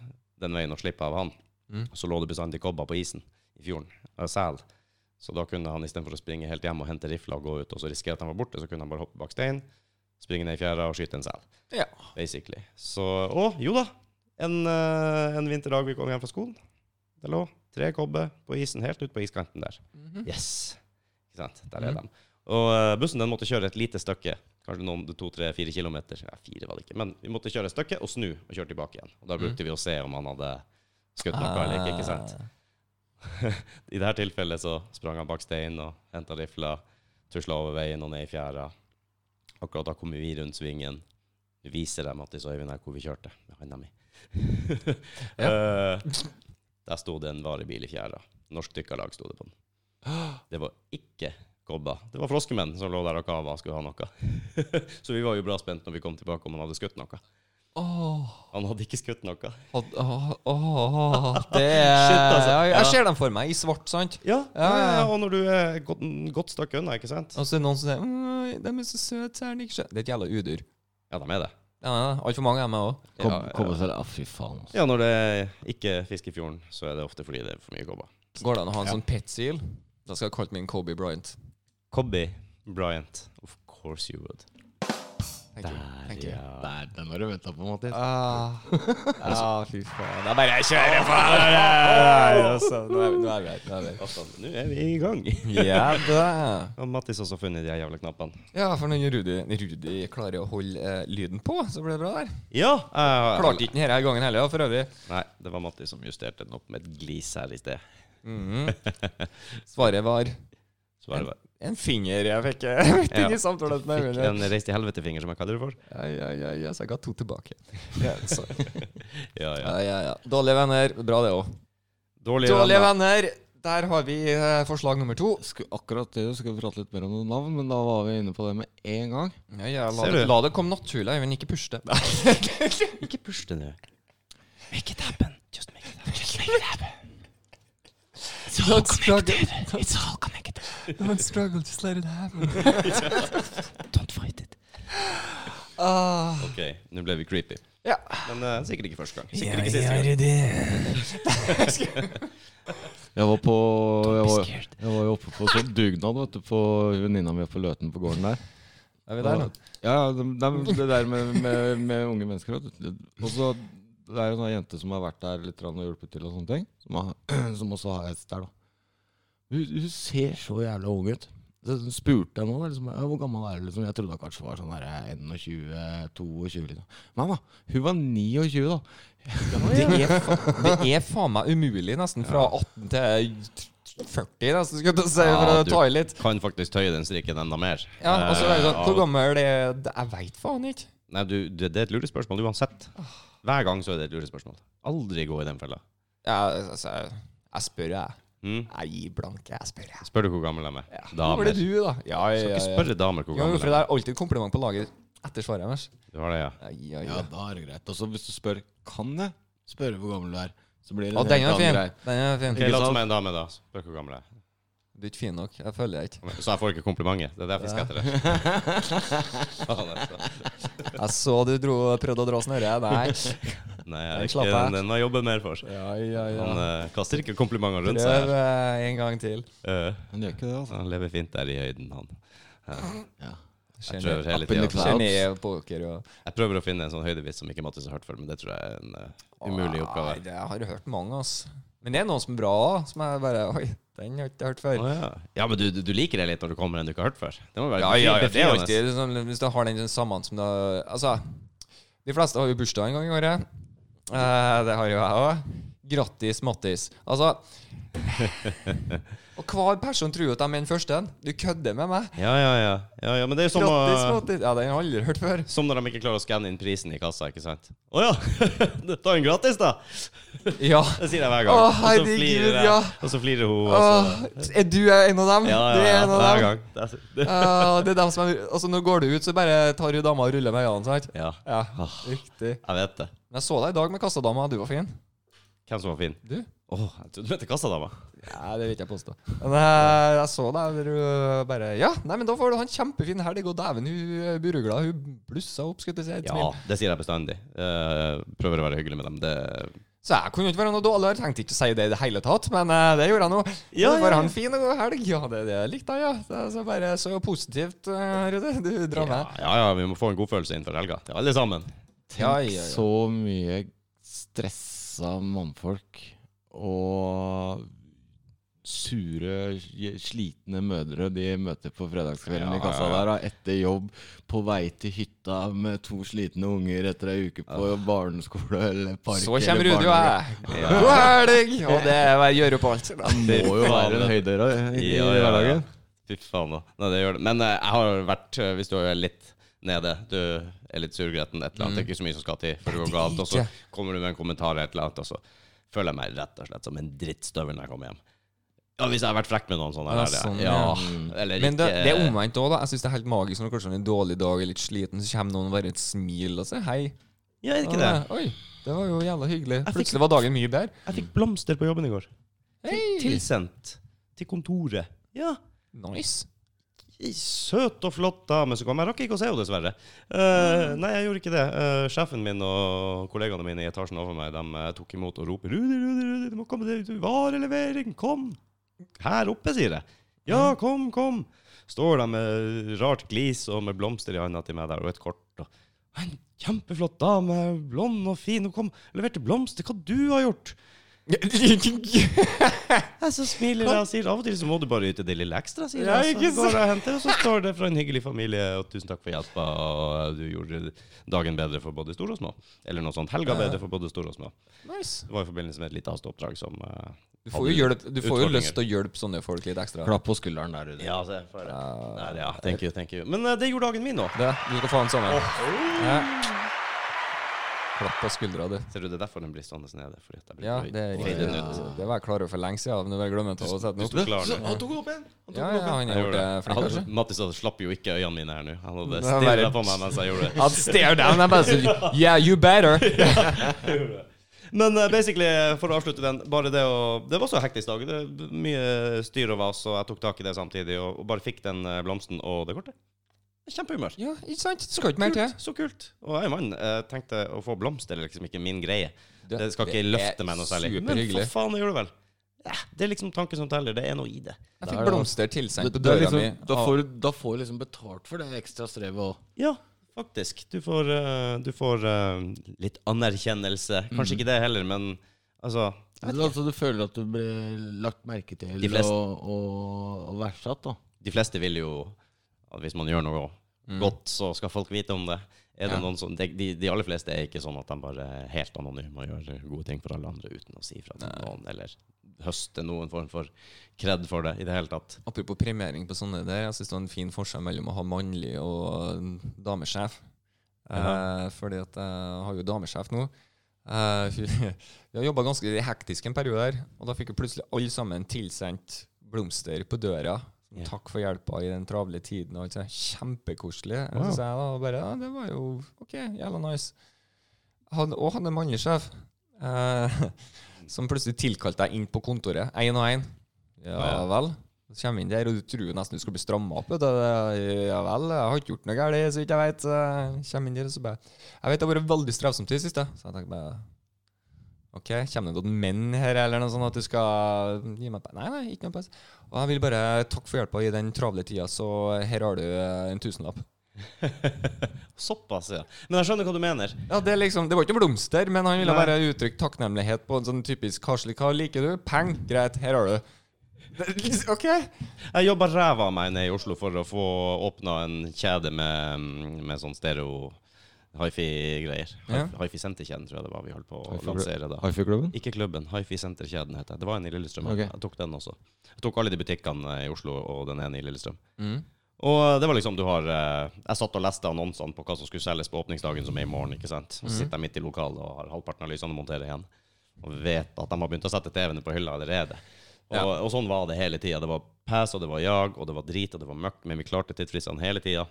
[SPEAKER 1] den veien og slippe av han,
[SPEAKER 3] Mm.
[SPEAKER 1] så lå det bestandig kobber på isen i fjorden, av sel. Så da kunne han istedenfor å springe helt hjem og hente rifla og gå ut, og så risikere at han var borte, så kunne han bare hoppe bak steinen, springe ned i fjæra og skyte en sel.
[SPEAKER 3] Ja.
[SPEAKER 1] Basically. Så Å, jo da. En, eh, en vinterdag vi kom hjem fra skolen, det lå tre kobber på isen helt ut på iskanten der.
[SPEAKER 3] Mhm.
[SPEAKER 1] Yes. Ikke sant? Der er
[SPEAKER 3] Mhm.
[SPEAKER 1] de. Og eh, bussen den måtte kjøre et lite stykke. Kanskje noen to, tre, fire kilometer. Ja, fire var det ikke. Men vi måtte kjøre et stykke og snu og kjøre tilbake igjen. Og da brukte vi å se om han hadde skutt noe eller ikke. ikke sant?
[SPEAKER 3] Mhm. Ah.
[SPEAKER 1] I dette tilfellet så sprang han bak steinen og henta rifla, tusla over veien og ned i fjæra. Akkurat da kom vi rundt svingen. Vi viser dem Mattis og Øyvind her hvor vi kjørte med handa mi. Eh, der sto det en varebil i fjæra. Norsk dykkerlag sto det på den. Det var ikke kobber. Det var froskemenn som lå der og kava og skulle ha noe. så vi var jo bra spent når vi kom tilbake om han hadde skutt noe.
[SPEAKER 3] Åh,
[SPEAKER 1] Han hadde ikke skutt noe.
[SPEAKER 3] had- Ah. åh, åh, det er
[SPEAKER 1] Shit, altså.
[SPEAKER 3] ja,
[SPEAKER 1] Ja.
[SPEAKER 3] Jeg ser dem for meg i svart, sant?
[SPEAKER 1] Ja,
[SPEAKER 3] Ja, ja, ja.
[SPEAKER 1] og når du er godt, godt stykke unna, ikke sant?
[SPEAKER 3] Og så er det noen som sier «Åh, 'De er så søte, så er de ikke skjønne'. Det er et jævla udyr.
[SPEAKER 1] Ja, de er det.
[SPEAKER 3] Ja, Altfor mange av dem er òg.
[SPEAKER 2] Kom,
[SPEAKER 1] Ja, ja.
[SPEAKER 2] Komme seg ah, Fy faen. altså.
[SPEAKER 1] Ja, når det ikke er fisk i fjorden, så er det ofte fordi det er for mye kobber.
[SPEAKER 3] Går det an å ha en sånn pet-seal? Da skal jeg kalle min Kobe Bryant.
[SPEAKER 1] Cobby Bryant. Of course you would.
[SPEAKER 3] Thank you. Thank you.
[SPEAKER 2] Der, den har du venta på, Mattis.
[SPEAKER 3] Ah, ah, fy faen. Da bare jeg kjører på! Nå er vi- nå er vi her. Nå er vi her.
[SPEAKER 1] Altså, nå er vi i gang.
[SPEAKER 3] Ja da.
[SPEAKER 1] Og Mattis har også funnet de her jævla knappene.
[SPEAKER 3] Ja, for når Rudi, Rudi klarer å holde eh, lyden på, så blir det bra der.
[SPEAKER 1] Ja! eh,
[SPEAKER 3] Klarte ikke den her gangen heller, ja, for øvrig.
[SPEAKER 1] Nei, det var Mattis som justerte den opp med et glis her i sted.
[SPEAKER 3] Mhm. Svaret var
[SPEAKER 1] Så var det bare
[SPEAKER 3] en finger jeg fikk, jeg fikk inn i samtalen. med
[SPEAKER 1] Fikk
[SPEAKER 3] Øyvind.
[SPEAKER 1] en reis til helvete-finger, som jeg kaller det for.
[SPEAKER 3] Ja, ja, ja, ja, så jeg ga to tilbake. Ja, så.
[SPEAKER 1] Ja, ja.
[SPEAKER 3] ja, ja, ja. Dårlige venner. Bra, det òg.
[SPEAKER 1] Dårlige,
[SPEAKER 3] Dårlige
[SPEAKER 1] venner.
[SPEAKER 3] venner. Der har vi eh, forslag nummer to.
[SPEAKER 2] Sku, akkurat det, så skal vi prate litt mer om noen navn, men da var vi inne på det med en gang.
[SPEAKER 3] Ja, ja, la,
[SPEAKER 1] Ser
[SPEAKER 3] det,
[SPEAKER 1] du?
[SPEAKER 3] la det komme naturlig, Øyvind. Ikke push det.
[SPEAKER 1] Ikke push det nå. Make it happen. Just make it happen. Just make it happen.
[SPEAKER 3] Don't struggle. It's all connected. Don't struggle, just let it happen.
[SPEAKER 1] Don't fight it.
[SPEAKER 3] Ah,
[SPEAKER 1] OK, nå ble vi creepy.
[SPEAKER 3] ja.
[SPEAKER 1] Men eh, sikkert ikke første gang.
[SPEAKER 3] Ja,
[SPEAKER 1] Sikkert ikke
[SPEAKER 3] ja,
[SPEAKER 1] siste gang.
[SPEAKER 3] det er det.
[SPEAKER 2] Jeg var på Jeg var,
[SPEAKER 1] scared.
[SPEAKER 2] jeg var jo oppe på sånn dugnad vet du, på venninna mi på Løten på gården der.
[SPEAKER 3] Er vi der nå?
[SPEAKER 2] Ja, ja, de, de, Det der med, med, med unge mennesker vet du. Og så det er jo noen jenter som har vært der litt grann og hjulpet til, og sånne ting som, har, som også har reist der. da hun, hun ser så jævla ung ut. Så hun spurte jeg nå da, liksom, «Ja, hvor gammel er du? Liksom. Jeg trodde hun kanskje var sånn her, eh, 21-22. Liksom. Nei da, hun var 29 da.
[SPEAKER 3] Det er, fa- det er faen meg umulig, nesten. Fra 18 til 40, nesten, skulle jeg til å si, for
[SPEAKER 1] Ja,
[SPEAKER 3] å
[SPEAKER 1] du-
[SPEAKER 3] ta i litt.
[SPEAKER 1] Kan faktisk tøye den strikken enda mer.
[SPEAKER 3] Ja, og så er det
[SPEAKER 1] Eh,
[SPEAKER 3] sånn, Hvor gammel er det? Jeg veit faen ikke.
[SPEAKER 1] Nei, du, det, det er et lurespørsmål uansett. Hver gang så er det et lurespørsmål. Aldri gå i den fella.
[SPEAKER 3] Jeg, altså, jeg spør, jeg.
[SPEAKER 1] Mm.
[SPEAKER 3] Jeg gir blanke, jeg spør, jeg.
[SPEAKER 1] Spør du hvor gammel de er?
[SPEAKER 3] Ja. Hvor
[SPEAKER 1] Damer.
[SPEAKER 3] var det du, da? Ja, ja,
[SPEAKER 1] Skal
[SPEAKER 3] ja.
[SPEAKER 1] ikke
[SPEAKER 3] ja.
[SPEAKER 1] spørre damer hvor
[SPEAKER 3] Jo,
[SPEAKER 1] gammel
[SPEAKER 3] for
[SPEAKER 1] de
[SPEAKER 3] det
[SPEAKER 1] er.
[SPEAKER 3] er alltid kompliment på laget etter svaret deres.
[SPEAKER 1] Du har det, ja.
[SPEAKER 3] Ja, ja,
[SPEAKER 2] Ja,
[SPEAKER 3] ja.
[SPEAKER 2] da er det greit. Og så hvis du spør kan jeg spørre hvor gammel du er, så blir det
[SPEAKER 3] Å,
[SPEAKER 2] en
[SPEAKER 3] den
[SPEAKER 2] helt
[SPEAKER 3] er fin.
[SPEAKER 2] annen greie.
[SPEAKER 3] Den er fin.
[SPEAKER 1] Ok, La oss som er en dame, da. Spør hvor gammel jeg er.
[SPEAKER 3] Du er ikke fin nok. Jeg føler jeg ikke.
[SPEAKER 1] Så jeg får ikke komplimentet. Det er derfor jeg skal etter det. Faen, altså.
[SPEAKER 3] Jeg så du dro, prøvde å dra snøret. Nei.
[SPEAKER 1] Nei, jeg er
[SPEAKER 3] Slapp
[SPEAKER 1] ikke
[SPEAKER 3] av.
[SPEAKER 1] den. Den må jeg jobbe mer for.
[SPEAKER 3] Ja, ja,
[SPEAKER 1] Han eh, kaster ikke komplimenter rundt seg.
[SPEAKER 3] Prøv eh, en gang til.
[SPEAKER 1] Eh,
[SPEAKER 2] Han gjør ikke det, altså.
[SPEAKER 1] han lever fint der i høyden, han. Eh,
[SPEAKER 2] Ja.
[SPEAKER 1] jeg, prøver hele
[SPEAKER 2] Up in the
[SPEAKER 1] tiden.
[SPEAKER 2] clouds.
[SPEAKER 3] Geni, poker og
[SPEAKER 1] jeg prøver å finne en sånn høydevits som ikke Mattis har hørt før, men det tror jeg er en eh, umulig oppgave.
[SPEAKER 3] Nei, det har jeg hørt mange, ass. Men det er noen som er bra òg, som jeg bare Oi, den har jeg ikke hørt før.
[SPEAKER 1] Å, ja. ja, men du, du, du liker det litt når du kommer en du ikke har hørt før. Det må være
[SPEAKER 3] Ja, ja, ja, det er jo
[SPEAKER 1] befriende.
[SPEAKER 3] alltid sånn, Hvis du har den sånn sammen som du Altså, de fleste har jo bursdag en gang i året. Eh, det har jo jeg òg. Grattis, Mattis. Altså, Og hver person tror jo at de er den første. Du kødder med meg.
[SPEAKER 1] Ja, ja, ja. ja, ja men det er jo som, eh,
[SPEAKER 3] Grattis,
[SPEAKER 1] å-
[SPEAKER 3] Mattis. Ja, den har jeg aldri hørt før.
[SPEAKER 1] som når de ikke klarer å skanne inn prisen i kassa, ikke sant? Å ja! Ta den gratis, da!
[SPEAKER 3] Ja.
[SPEAKER 1] Det sier jeg hver gang.
[SPEAKER 3] Å,
[SPEAKER 1] Og så
[SPEAKER 3] herregud,
[SPEAKER 1] flirer jeg,
[SPEAKER 3] ja.
[SPEAKER 1] Og så flirer hun. Og
[SPEAKER 3] Åh,
[SPEAKER 1] så,
[SPEAKER 3] er du en av dem?
[SPEAKER 1] ja, ja,
[SPEAKER 3] Du er
[SPEAKER 1] ja,
[SPEAKER 3] en av
[SPEAKER 1] hver
[SPEAKER 3] dem.
[SPEAKER 1] gang. Det er så- det-
[SPEAKER 3] Ja, det er dem som er, altså Når går du ut, så bare tar hun dama og ruller med øynene. sant?
[SPEAKER 1] Ja,
[SPEAKER 3] Ja,
[SPEAKER 1] Åh.
[SPEAKER 3] riktig.
[SPEAKER 1] jeg vet det.
[SPEAKER 3] Men jeg så deg i dag med kassadama. Du var fin.
[SPEAKER 1] Hvem som var fin?
[SPEAKER 3] Du?
[SPEAKER 1] Åh, jeg trodde du mente kassadama.
[SPEAKER 3] Ja, det vil ikke jeg påstå. Men eh, jeg, jeg så deg der du eh, bare Ja, nei, men da får du ha en kjempefin helg. Og dæven, hun er buruglad. Hun blussa opp, skulle jeg til å si. et
[SPEAKER 1] Ja,
[SPEAKER 3] smil.
[SPEAKER 1] det sier jeg bestandig. Eh, prøver å være hyggelig med dem. Det
[SPEAKER 3] Så jeg kunne jo ikke være noe dårligere. Tenkte ikke å si det i det hele tatt, men eh, det gjorde jeg nå.
[SPEAKER 1] Ja,
[SPEAKER 3] Ja,
[SPEAKER 1] ja,
[SPEAKER 3] Var
[SPEAKER 1] ja.
[SPEAKER 3] han fin og god helg? Ja, det, det likte jeg, ja. Så, så bare så positivt, eh, Rudi. Du
[SPEAKER 1] ja,
[SPEAKER 3] drar med.
[SPEAKER 1] ja, ja, vi må få en god følelse innenfor helga til alle sammen.
[SPEAKER 3] Ja, ja, ja.
[SPEAKER 2] Så mye stressa mannfolk og sure, j- slitne mødre de møter på fredagskvelden
[SPEAKER 1] Ja,
[SPEAKER 2] i kassa
[SPEAKER 1] ja, ja.
[SPEAKER 2] der, da, etter jobb, på vei til hytta med to slitne unger etter ei uke på barneskole eller park.
[SPEAKER 3] Så kommer
[SPEAKER 2] eller
[SPEAKER 3] Rudi og
[SPEAKER 2] barnehage.
[SPEAKER 3] jeg. God helg! Og det er bare gjør opp alt. Da.
[SPEAKER 2] Det må jo være en høydere eh, i i hverdagen.
[SPEAKER 1] Fy faen, da. Nei, det gjør det. Men eh, jeg har vært, eh, hvis du er litt nede, du er litt surgretten, et eller
[SPEAKER 3] Mm.
[SPEAKER 1] annet, det er ikke så mye som skal til for det går galt, og så
[SPEAKER 3] ikke.
[SPEAKER 1] kommer du med en kommentar eller et eller annet, og så føler jeg meg rett og slett som en drittstøvel når jeg kommer hjem. Ja, hvis jeg har vært frekk med noen sånne.
[SPEAKER 3] Ja,
[SPEAKER 1] der,
[SPEAKER 3] sånn,
[SPEAKER 1] ja.
[SPEAKER 3] ja.
[SPEAKER 1] ja. Eller
[SPEAKER 3] Men det,
[SPEAKER 1] ikke-
[SPEAKER 3] det er omvendt òg, da. Jeg syns det er helt magisk når du kanskje har en dårlig dag er litt sliten, så kommer noen og bare et smil og sier hei.
[SPEAKER 1] Ja, er det ikke det?
[SPEAKER 3] Og, Oi, det var jo jævla hyggelig.
[SPEAKER 1] fikk-
[SPEAKER 3] Plutselig var dagen mye bedre.
[SPEAKER 1] Jeg fikk blomster på jobben i går.
[SPEAKER 3] Hei!
[SPEAKER 1] Tilsendt til kontoret. Ja.
[SPEAKER 3] Nice.
[SPEAKER 1] Ei Søt og flott dame som kom. Jeg rakk ikke å se henne, dessverre. Eh, nei, jeg gjorde ikke det. Eh, sjefen min og kollegaene mine i etasjen over meg de eh, tok imot og ropte 'Rudi, Rudi, Rudi, du må komme deg ut. Varelevering, kom!' Her oppe, sier jeg. 'Ja, kom, kom.' Står de med rart glis og med blomster i handa til meg der, og et kort. Og, en kjempeflott dame, blond og fin, hun kom og leverte blomster. Hva du har gjort? Jeg så smiler jeg og sier av og til så må du bare yte det lille ekstra, sier
[SPEAKER 3] Ja,
[SPEAKER 1] jeg.
[SPEAKER 3] ikke
[SPEAKER 1] Så går jeg og henter, og så står det fra en hyggelig familie, og tusen takk for hjelpa, og du gjorde dagen bedre for både store og små. Eller noe sånt. Helga bedre for både store og små.
[SPEAKER 3] nice.
[SPEAKER 1] Det var i forbindelse med et lite hasteoppdrag som eh,
[SPEAKER 3] Du får jo, hjelp, du får jo lyst til å hjelpe sånne folk litt ekstra.
[SPEAKER 2] Klapp på skulderen der, Rudi.
[SPEAKER 1] Ja, så jeg får Nei, ja, thank you, thank you. Men eh, det gjorde dagen min nå.
[SPEAKER 3] Det, du skal få den samme. Ja. Klapp på skuldra, du.
[SPEAKER 1] Ser du, det er derfor den blir stående nede. Fordi at jeg blir
[SPEAKER 3] Ja, det er
[SPEAKER 1] Fade
[SPEAKER 3] riktig.
[SPEAKER 1] den ut.
[SPEAKER 3] Det var jeg klar over for lenge siden, men jeg glemte å sette den opp.
[SPEAKER 1] Du klarer det.
[SPEAKER 2] Han tok opp igjen! Han tok den
[SPEAKER 3] Ja, ja,
[SPEAKER 2] opp igjen.
[SPEAKER 3] han
[SPEAKER 1] Jeg
[SPEAKER 3] har
[SPEAKER 1] gjorde
[SPEAKER 3] gjort det
[SPEAKER 1] det.
[SPEAKER 3] flink, kanskje.
[SPEAKER 1] Han- Mattis han slapp jo ikke øynene mine her nå. Han hadde
[SPEAKER 3] Det var
[SPEAKER 1] stirra
[SPEAKER 3] bare-
[SPEAKER 1] på meg mens jeg gjorde det.
[SPEAKER 3] Han stared down. Jeg bare sier Yeah, you better.
[SPEAKER 1] Men eh, basically, for å avslutte den bare Det å, det var så hektisk dag. Det var mye styr og vas, og jeg tok tak i det samtidig. Og, og bare fikk den eh, blomsten og det kortet. Kjempehumør.
[SPEAKER 3] Ja, ikke sant? Det skal ikke mer til.
[SPEAKER 1] Kult, så kult. Og jeg er mann. Jeg tenkte å få blomster er liksom ikke min greie.
[SPEAKER 3] Det-
[SPEAKER 1] Det skal ikke
[SPEAKER 3] det er
[SPEAKER 1] løfte meg noe særlig. Men
[SPEAKER 3] superhyggelig.
[SPEAKER 1] for faen, det gjør det vel. Ja, det er liksom tanken som teller. Det er noe i det.
[SPEAKER 3] Jeg
[SPEAKER 2] Der,
[SPEAKER 3] fikk
[SPEAKER 2] da.
[SPEAKER 3] blomster tilsendt
[SPEAKER 2] Det-
[SPEAKER 3] på
[SPEAKER 2] det er
[SPEAKER 3] døra mi.
[SPEAKER 2] liksom- Da får du da får du liksom betalt for det ekstra strevet òg.
[SPEAKER 1] Ja, faktisk. Du får, eh, du får eh, litt anerkjennelse.
[SPEAKER 3] Mm.
[SPEAKER 1] Kanskje ikke det heller, men altså jeg vet ikke.
[SPEAKER 2] Altså, du føler at du blir lagt merke til
[SPEAKER 1] De fleste-
[SPEAKER 2] og, og, og verdsatt, da.
[SPEAKER 1] de fleste vil jo at hvis man gjør noe godt, så skal folk vite om det. Er det
[SPEAKER 3] Mm. Ja.
[SPEAKER 1] noen som, de, de, de aller fleste er ikke sånn at de bare er helt anonyme og gjør gode ting for alle andre uten å si fra til noen, eller høste noen form for kred for det i det hele tatt.
[SPEAKER 3] Apropos premiering på sånne der, jeg synes det var en fin forskjell mellom å ha mannlig og en damesjef. Eh, fordi at jeg har jo damesjef nå. Eh, hun- vi har jobba ganske hektisk en periode der, og da fikk jo plutselig alle sammen tilsendt blomster på døra.
[SPEAKER 1] Ja.
[SPEAKER 3] Takk for hjelpa i den travle tiden. Og alt sånt. Kjempekoselig. Wow. Så sa jeg da bare ja, det var jo OK, jævla nice. Han, og han er mannlig sjef, eh, som plutselig tilkalte deg inn på kontoret, én og én. Ja
[SPEAKER 1] Ja.
[SPEAKER 3] vel. Så kommer vi inn der, og du tror jo nesten du skal bli stramma opp. vet du. Ja vel, jeg har ikke gjort noe galt, så vidt jeg vet. Så Kommer inn der, og så bare Jeg vet det har vært veldig strevsomt i det siste. Så jeg tenkte bare OK, kommer det noen menn her, eller noe sånt, at du skal gi meg pe- Nei, nei, ikke noe pes. Og jeg vil bare takke for hjelpa i den travle tida, så her har du eh, en tusenlapp.
[SPEAKER 1] Såpass, ja. Men jeg skjønner hva du mener.
[SPEAKER 3] Ja, Det er liksom, det var ikke blomster, men han ville
[SPEAKER 1] Nei.
[SPEAKER 3] bare uttrykke takknemlighet på en sånn typisk karslig Hva liker du? Peng. Greit, her har du. Det- OK.
[SPEAKER 1] Jeg jobba ræva av meg nede i Oslo for å få åpna en kjede med, med sånn stereo Hifi-greier.
[SPEAKER 3] Ja.
[SPEAKER 1] Hifi-senterkjeden, tror jeg det var vi holdt på å
[SPEAKER 2] Hi-Fi-
[SPEAKER 1] lansere da.
[SPEAKER 2] Hifi-klubben?
[SPEAKER 1] Ikke klubben, Hifi-senterkjeden heter det. Det var en i Lillestrøm.
[SPEAKER 2] Ok.
[SPEAKER 1] Jeg tok den også. Jeg tok alle de butikkene eh, i Oslo og den ene i Lillestrøm.
[SPEAKER 3] Mm.
[SPEAKER 1] Og det var liksom, du har eh, Jeg satt og leste annonsene på hva som skulle selges på åpningsdagen, som er i morgen. ikke sant? Så sitter jeg midt i lokalet og har halvparten av lysene å montere igjen. Og vet at de har begynt å sette TV-ene på hylla allerede. Og,
[SPEAKER 3] Ja.
[SPEAKER 1] og sånn var det hele tida. Det var pes, og det var jag, og det var drit, og det var møkk, men vi klarte tidsfristene hele tida.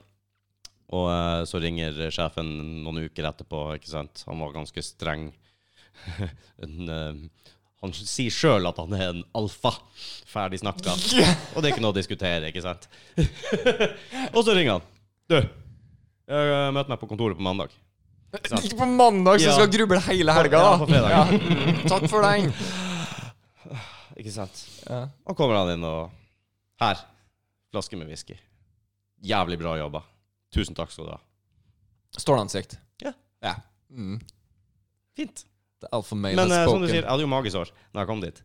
[SPEAKER 1] Og eh, så ringer sjefen noen uker etterpå, ikke sant. Han var ganske streng. en, eh, han sier sjøl at han er en alfa. Ferdig snakka. Og det er ikke noe å diskutere, ikke sant? Og så ringer han. Du, jeg eh, møter meg på kontoret på mandag. Sant.
[SPEAKER 3] Ikke på mandag, så
[SPEAKER 1] Ja.
[SPEAKER 3] skal jeg gruble hele helga,
[SPEAKER 1] Ja, på
[SPEAKER 3] da!
[SPEAKER 1] fredag.
[SPEAKER 3] Ja. Takk for den!
[SPEAKER 1] Ikke sant?
[SPEAKER 3] Ja.
[SPEAKER 1] Og kommer han inn og Her. Flaske med whisky. Jævlig bra jobba. Tusen takk skal du ha.
[SPEAKER 3] Stålansikt.
[SPEAKER 1] Ja.
[SPEAKER 3] ja. Mm.
[SPEAKER 1] Fint.
[SPEAKER 3] The alpha male
[SPEAKER 1] Men eh,
[SPEAKER 3] has
[SPEAKER 1] som du
[SPEAKER 3] spoken.
[SPEAKER 1] sier, jeg hadde jo magesår da jeg kom dit.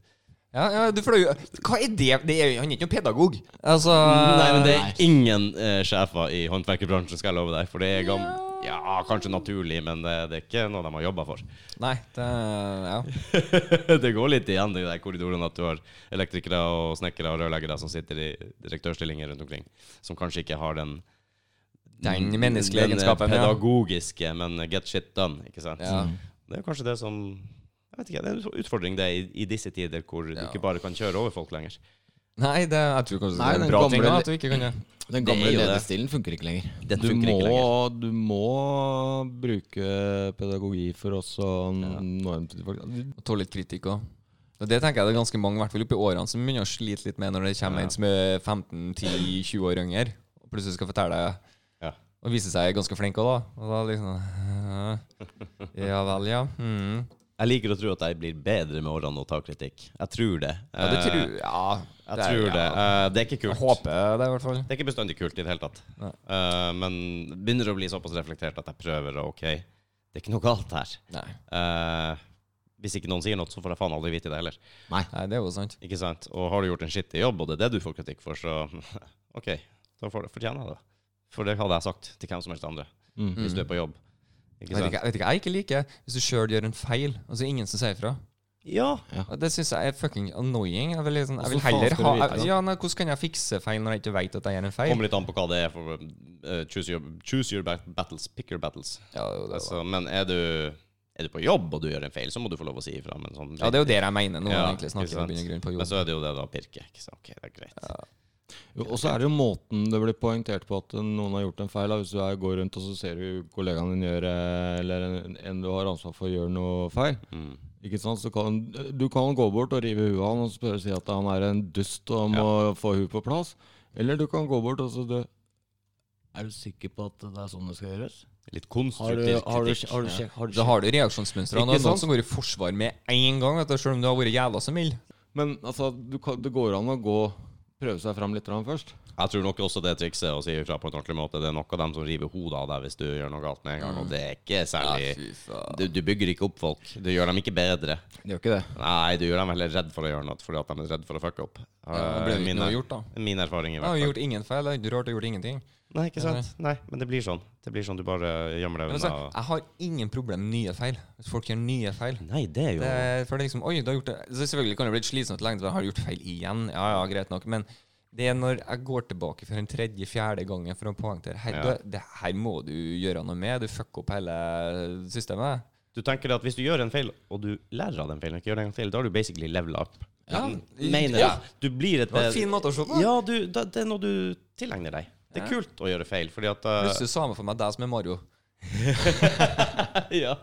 [SPEAKER 3] Ja, ja, du fløy jo Hva er det? det er, han er ikke noen pedagog. Altså
[SPEAKER 1] Nei, men det er ingen eh, sjefer i håndverkerbransjen, skal jeg love deg. For det er gam... Ja, kanskje naturlig, men det, det er ikke noe de har jobba for.
[SPEAKER 3] Nei, det er- Ja.
[SPEAKER 1] det går litt igjen i de der korridorene at du har elektrikere og snekkere og rørleggere som sitter i direktørstillinger rundt omkring, som kanskje ikke har den
[SPEAKER 3] Den menneskelige
[SPEAKER 1] den, eh,
[SPEAKER 3] egenskapen, ja.
[SPEAKER 1] pedagogiske, men get shit done, ikke sant. Mm.
[SPEAKER 3] Ja.
[SPEAKER 1] Det er jo kanskje det som jeg vet ikke, Det er en utfordring det i, i disse tider, hvor du ikke bare kan kjøre over folk lenger.
[SPEAKER 3] Nei, det, jeg tror kanskje
[SPEAKER 2] Nei,
[SPEAKER 3] det er
[SPEAKER 2] den
[SPEAKER 3] en bra ting
[SPEAKER 2] gamle-
[SPEAKER 3] da, at du ikke kan det.
[SPEAKER 1] Det
[SPEAKER 2] Den
[SPEAKER 1] er
[SPEAKER 2] gamle
[SPEAKER 1] jo det.
[SPEAKER 2] ledestilen funker ikke lenger.
[SPEAKER 1] Den
[SPEAKER 2] du,
[SPEAKER 1] funker
[SPEAKER 2] må,
[SPEAKER 1] ikke
[SPEAKER 2] du må bruke pedagogi for også ja. norm til folk.
[SPEAKER 3] Og tåle litt kritikk òg. Og det tenker jeg det er ganske mange, i hvert fall oppi årene, som begynner å slite litt med når det kommer en som er 15-10-20 år yngre, og plutselig skal fortelle deg
[SPEAKER 1] Ja.
[SPEAKER 3] Og vise seg ganske flink òg, da. Og da liksom «Hæ? Ja vel, ja. Mm.
[SPEAKER 1] Jeg liker å tro at jeg blir bedre med årene og tar kritikk. Jeg tror det.
[SPEAKER 3] Ja, det tror
[SPEAKER 1] Eh,
[SPEAKER 3] Ja.
[SPEAKER 1] Jeg tror det.
[SPEAKER 3] Ja.
[SPEAKER 1] Eh, Det er ikke kult.
[SPEAKER 3] Jeg håper det, i hvert fall.
[SPEAKER 1] Det er ikke bestandig kult i det hele tatt.
[SPEAKER 3] Nei.
[SPEAKER 1] Eh, men begynner å bli såpass reflektert at jeg prøver å OK, det er ikke noe galt her.
[SPEAKER 3] Nei.
[SPEAKER 1] Eh, hvis ikke noen sier noe, så får jeg faen aldri vite det heller.
[SPEAKER 3] Nei, det er jo sant.
[SPEAKER 1] Ikke sant? Og har du gjort en skittig jobb, og det er det du får kritikk for, så OK, da får du fortjene det. For det hadde jeg sagt til hvem som helst andre,
[SPEAKER 3] Mhm.
[SPEAKER 2] Mm.
[SPEAKER 1] hvis du er på jobb. Ikke
[SPEAKER 3] Vet
[SPEAKER 1] sant?
[SPEAKER 3] ikke, vet ikke, jeg ikke liker hvis du sjøl gjør en feil, og så er ingen som sier fra.
[SPEAKER 1] Ja.
[SPEAKER 3] Og Det syns jeg er fucking annoying. Jeg vil, liksom, jeg
[SPEAKER 2] Hvordan
[SPEAKER 3] vil
[SPEAKER 2] faen
[SPEAKER 3] heller
[SPEAKER 2] skal
[SPEAKER 3] ha
[SPEAKER 2] du vite det?
[SPEAKER 3] jeg, ja, nei, Hvordan kan jeg fikse feil når jeg ikke vet at jeg gjør en feil?
[SPEAKER 1] Kommer litt an på hva det er for eh, choose, your, choose your bat- battles. Pick your battles.
[SPEAKER 3] Ja, det er jo det, da.
[SPEAKER 1] Altså, men er du, er du på jobb og du gjør en feil, så må du få lov å si ifra. Men sånn,
[SPEAKER 3] ja, det er jo det jeg mener når
[SPEAKER 1] Ja,
[SPEAKER 3] jeg egentlig snakker
[SPEAKER 1] ikke sant. Altså,
[SPEAKER 3] om grunn på
[SPEAKER 1] Men
[SPEAKER 3] jobb.
[SPEAKER 1] så er det jo det da, pirke. Ikke sant? Ok, det er greit.
[SPEAKER 2] Jo, Og så er det jo måten det blir poengtert på at noen har gjort en feil. Da. Hvis du er, går rundt og så ser du kollegaen din gjøre eller en, en du har ansvar for, gjør noe feil.
[SPEAKER 1] Mm.
[SPEAKER 2] Ikke sant? Så kan, du kan gå bort og rive huet av han og spørre si at han er en dust og må få huet på plass. Eller du kan gå bort og så du, Er du sikker på at det er sånn det skal gjøres?
[SPEAKER 1] Litt konstruktiv kritikk.
[SPEAKER 3] Da har du
[SPEAKER 2] Ikke
[SPEAKER 3] reaksjonsmønstrene. og Noen
[SPEAKER 2] sant?
[SPEAKER 3] som går i forsvar med en gang, vet du, selv om du har vært jævla så mild.
[SPEAKER 2] Men altså, du kan, det går an å gå prøve seg fram litt grann først.
[SPEAKER 1] Jeg tror nok også det trikset å si ifra på en ordentlig måte, det er nok av dem som river hodet av deg hvis du gjør noe galt med en gang, og det er ikke særlig
[SPEAKER 3] Mm. faen.
[SPEAKER 1] du, du bygger ikke opp folk. Du gjør dem ikke bedre.
[SPEAKER 2] Det gjør ikke det.
[SPEAKER 1] Nei, du gjør dem heller redd for å gjøre noe, fordi at de er redd for å fucke opp.
[SPEAKER 3] Ja, det blir
[SPEAKER 1] Eh,
[SPEAKER 3] ikke
[SPEAKER 1] min,
[SPEAKER 3] noe gjort, da.
[SPEAKER 1] min erfaring i
[SPEAKER 3] Jeg har
[SPEAKER 1] hvert
[SPEAKER 3] jo
[SPEAKER 1] fall.
[SPEAKER 3] gjort ingen feil. Det er ikke rart jeg har gjort ingenting.
[SPEAKER 1] Nei, ikke sant? Nei, men det blir sånn. Det blir sånn du bare gjemmer
[SPEAKER 3] Men
[SPEAKER 1] deg
[SPEAKER 3] altså,
[SPEAKER 1] unna.
[SPEAKER 3] jeg har ingen problem med nye feil. Hvis folk gjør nye feil.
[SPEAKER 1] Nei, det er jo
[SPEAKER 3] Det, er- for det er liksom, oi, du har gjort det så Selvfølgelig kan det bli litt slitsomt lenge, for jeg har gjort feil igjen. Ja, ja, greit nok. Men det er når jeg går tilbake for en tredje-fjerde gangen for å poengtere her,
[SPEAKER 1] Ja.
[SPEAKER 3] du, det her må du gjøre noe med. Du fucker opp hele systemet.
[SPEAKER 1] Du tenker at hvis du gjør en feil, og du lærer av den feilen, og ikke gjør den en gang til, da har du basically level up.
[SPEAKER 3] Ja.
[SPEAKER 1] Mener
[SPEAKER 3] Ja.
[SPEAKER 1] jeg. Du blir et
[SPEAKER 3] Det var en fin måte å se på.
[SPEAKER 1] Ja, du, da, det er noe du tilegner deg. Det er kult å gjøre feil, fordi at eh,
[SPEAKER 3] Plutselig samme for meg deg som er Mario.
[SPEAKER 1] ja.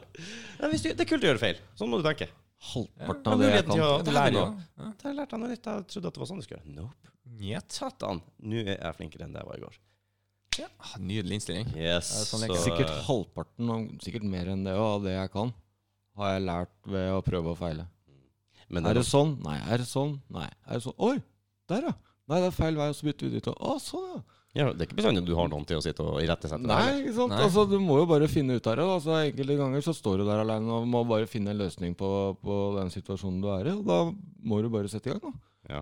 [SPEAKER 1] Nei, hvis du, Det er kult å gjøre feil. Sånn må du tenke.
[SPEAKER 2] Halvparten
[SPEAKER 1] Men
[SPEAKER 2] av det jeg
[SPEAKER 1] muligheten
[SPEAKER 2] kan.
[SPEAKER 1] til å
[SPEAKER 3] Det
[SPEAKER 1] lære
[SPEAKER 3] lærer
[SPEAKER 1] noe. Der lærte jeg noe nytt. Jeg trodde at det var sånn du skulle gjøre. Nope. Satan. Nå er jeg flinkere enn det jeg var i går.
[SPEAKER 3] Ja, Ah, nydelig innstilling.
[SPEAKER 1] Yes.
[SPEAKER 3] Ja, sånn
[SPEAKER 1] så,
[SPEAKER 3] leker jeg.
[SPEAKER 2] Sikkert halvparten, og sikkert mer enn det, og av det jeg kan, har jeg lært ved å prøve og feile.
[SPEAKER 1] men
[SPEAKER 2] Er
[SPEAKER 1] det
[SPEAKER 2] det sånn? Nei. Er det sånn? Nei. Er det sånn? Oi! Der, ja! Nei, det er feil vei, og så bytter vi dit. og- Å, sånn, ja!
[SPEAKER 1] ja, det er ikke bestandig du har noen til å sitte og irettesette deg.
[SPEAKER 2] Nei, ikke sant?
[SPEAKER 3] Nei.
[SPEAKER 2] Altså, du må jo bare finne ut av det. da. Altså, enkelte ganger så står du der alene og må bare finne en løsning på, på den situasjonen du er i, og da må du bare sette i gang, da.
[SPEAKER 1] Ja.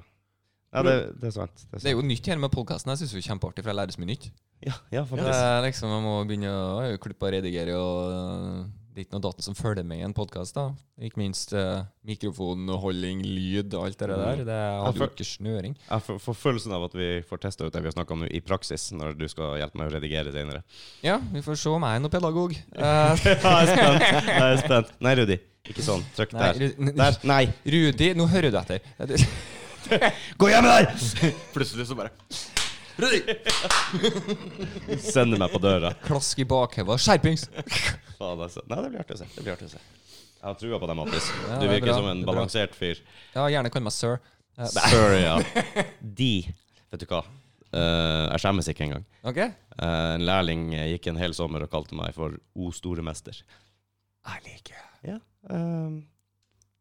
[SPEAKER 1] Nei, det, det er sant. Det er
[SPEAKER 3] Det er
[SPEAKER 1] sant.
[SPEAKER 3] jo nytt her med podkasten. Jeg syns det er kjempeartig, for jeg lærer så mye nytt.
[SPEAKER 1] Ja, ja
[SPEAKER 3] Det
[SPEAKER 1] faktisk.
[SPEAKER 3] er liksom, Jeg må begynne å klippe og redigere. og øh, Det er ikke noe datt som følger med i en podkast. Ikke minst øh, mikrofonholding, lyd og alt det der. Det
[SPEAKER 1] Mm. Ja,
[SPEAKER 3] har
[SPEAKER 1] for-
[SPEAKER 3] jo ikke snøring.
[SPEAKER 1] Jeg får, får følelsen av at vi får testa ut det vi har snakka om nå i praksis, når du skal hjelpe meg å redigere senere.
[SPEAKER 3] Ja, vi får se om jeg er noen pedagog. Eh,
[SPEAKER 1] Jeg er spent. Jeg er spent. Nei, Rudi. Ikke sånn. Trykk
[SPEAKER 3] Nei,
[SPEAKER 1] der.
[SPEAKER 3] Ru-
[SPEAKER 1] Der. Nei.
[SPEAKER 3] Rudi, nå hører du etter. Eh,
[SPEAKER 1] Gå hjem der!
[SPEAKER 2] Plutselig så bare
[SPEAKER 1] Sender meg på døra.
[SPEAKER 3] Klask i bakheva. Skjerpings!
[SPEAKER 1] Faen, altså. Nei, det blir artig å se. Det blir artig å se. Jeg har trua på deg, Mattis.
[SPEAKER 3] Ja,
[SPEAKER 1] Du
[SPEAKER 3] det er
[SPEAKER 1] virker
[SPEAKER 3] bra.
[SPEAKER 1] som en
[SPEAKER 3] Det er bra.
[SPEAKER 1] balansert fyr.
[SPEAKER 3] Ja, gjerne kall meg sir. Eh,
[SPEAKER 1] Sorry, ja. De. Vet du hva? Eh, jeg skjemmes ikke engang.
[SPEAKER 3] Ok?
[SPEAKER 1] Eh, en lærling eh, gikk en hel sommer og kalte meg for O store mester.
[SPEAKER 3] Jeg liker det.
[SPEAKER 1] Ja, ehm,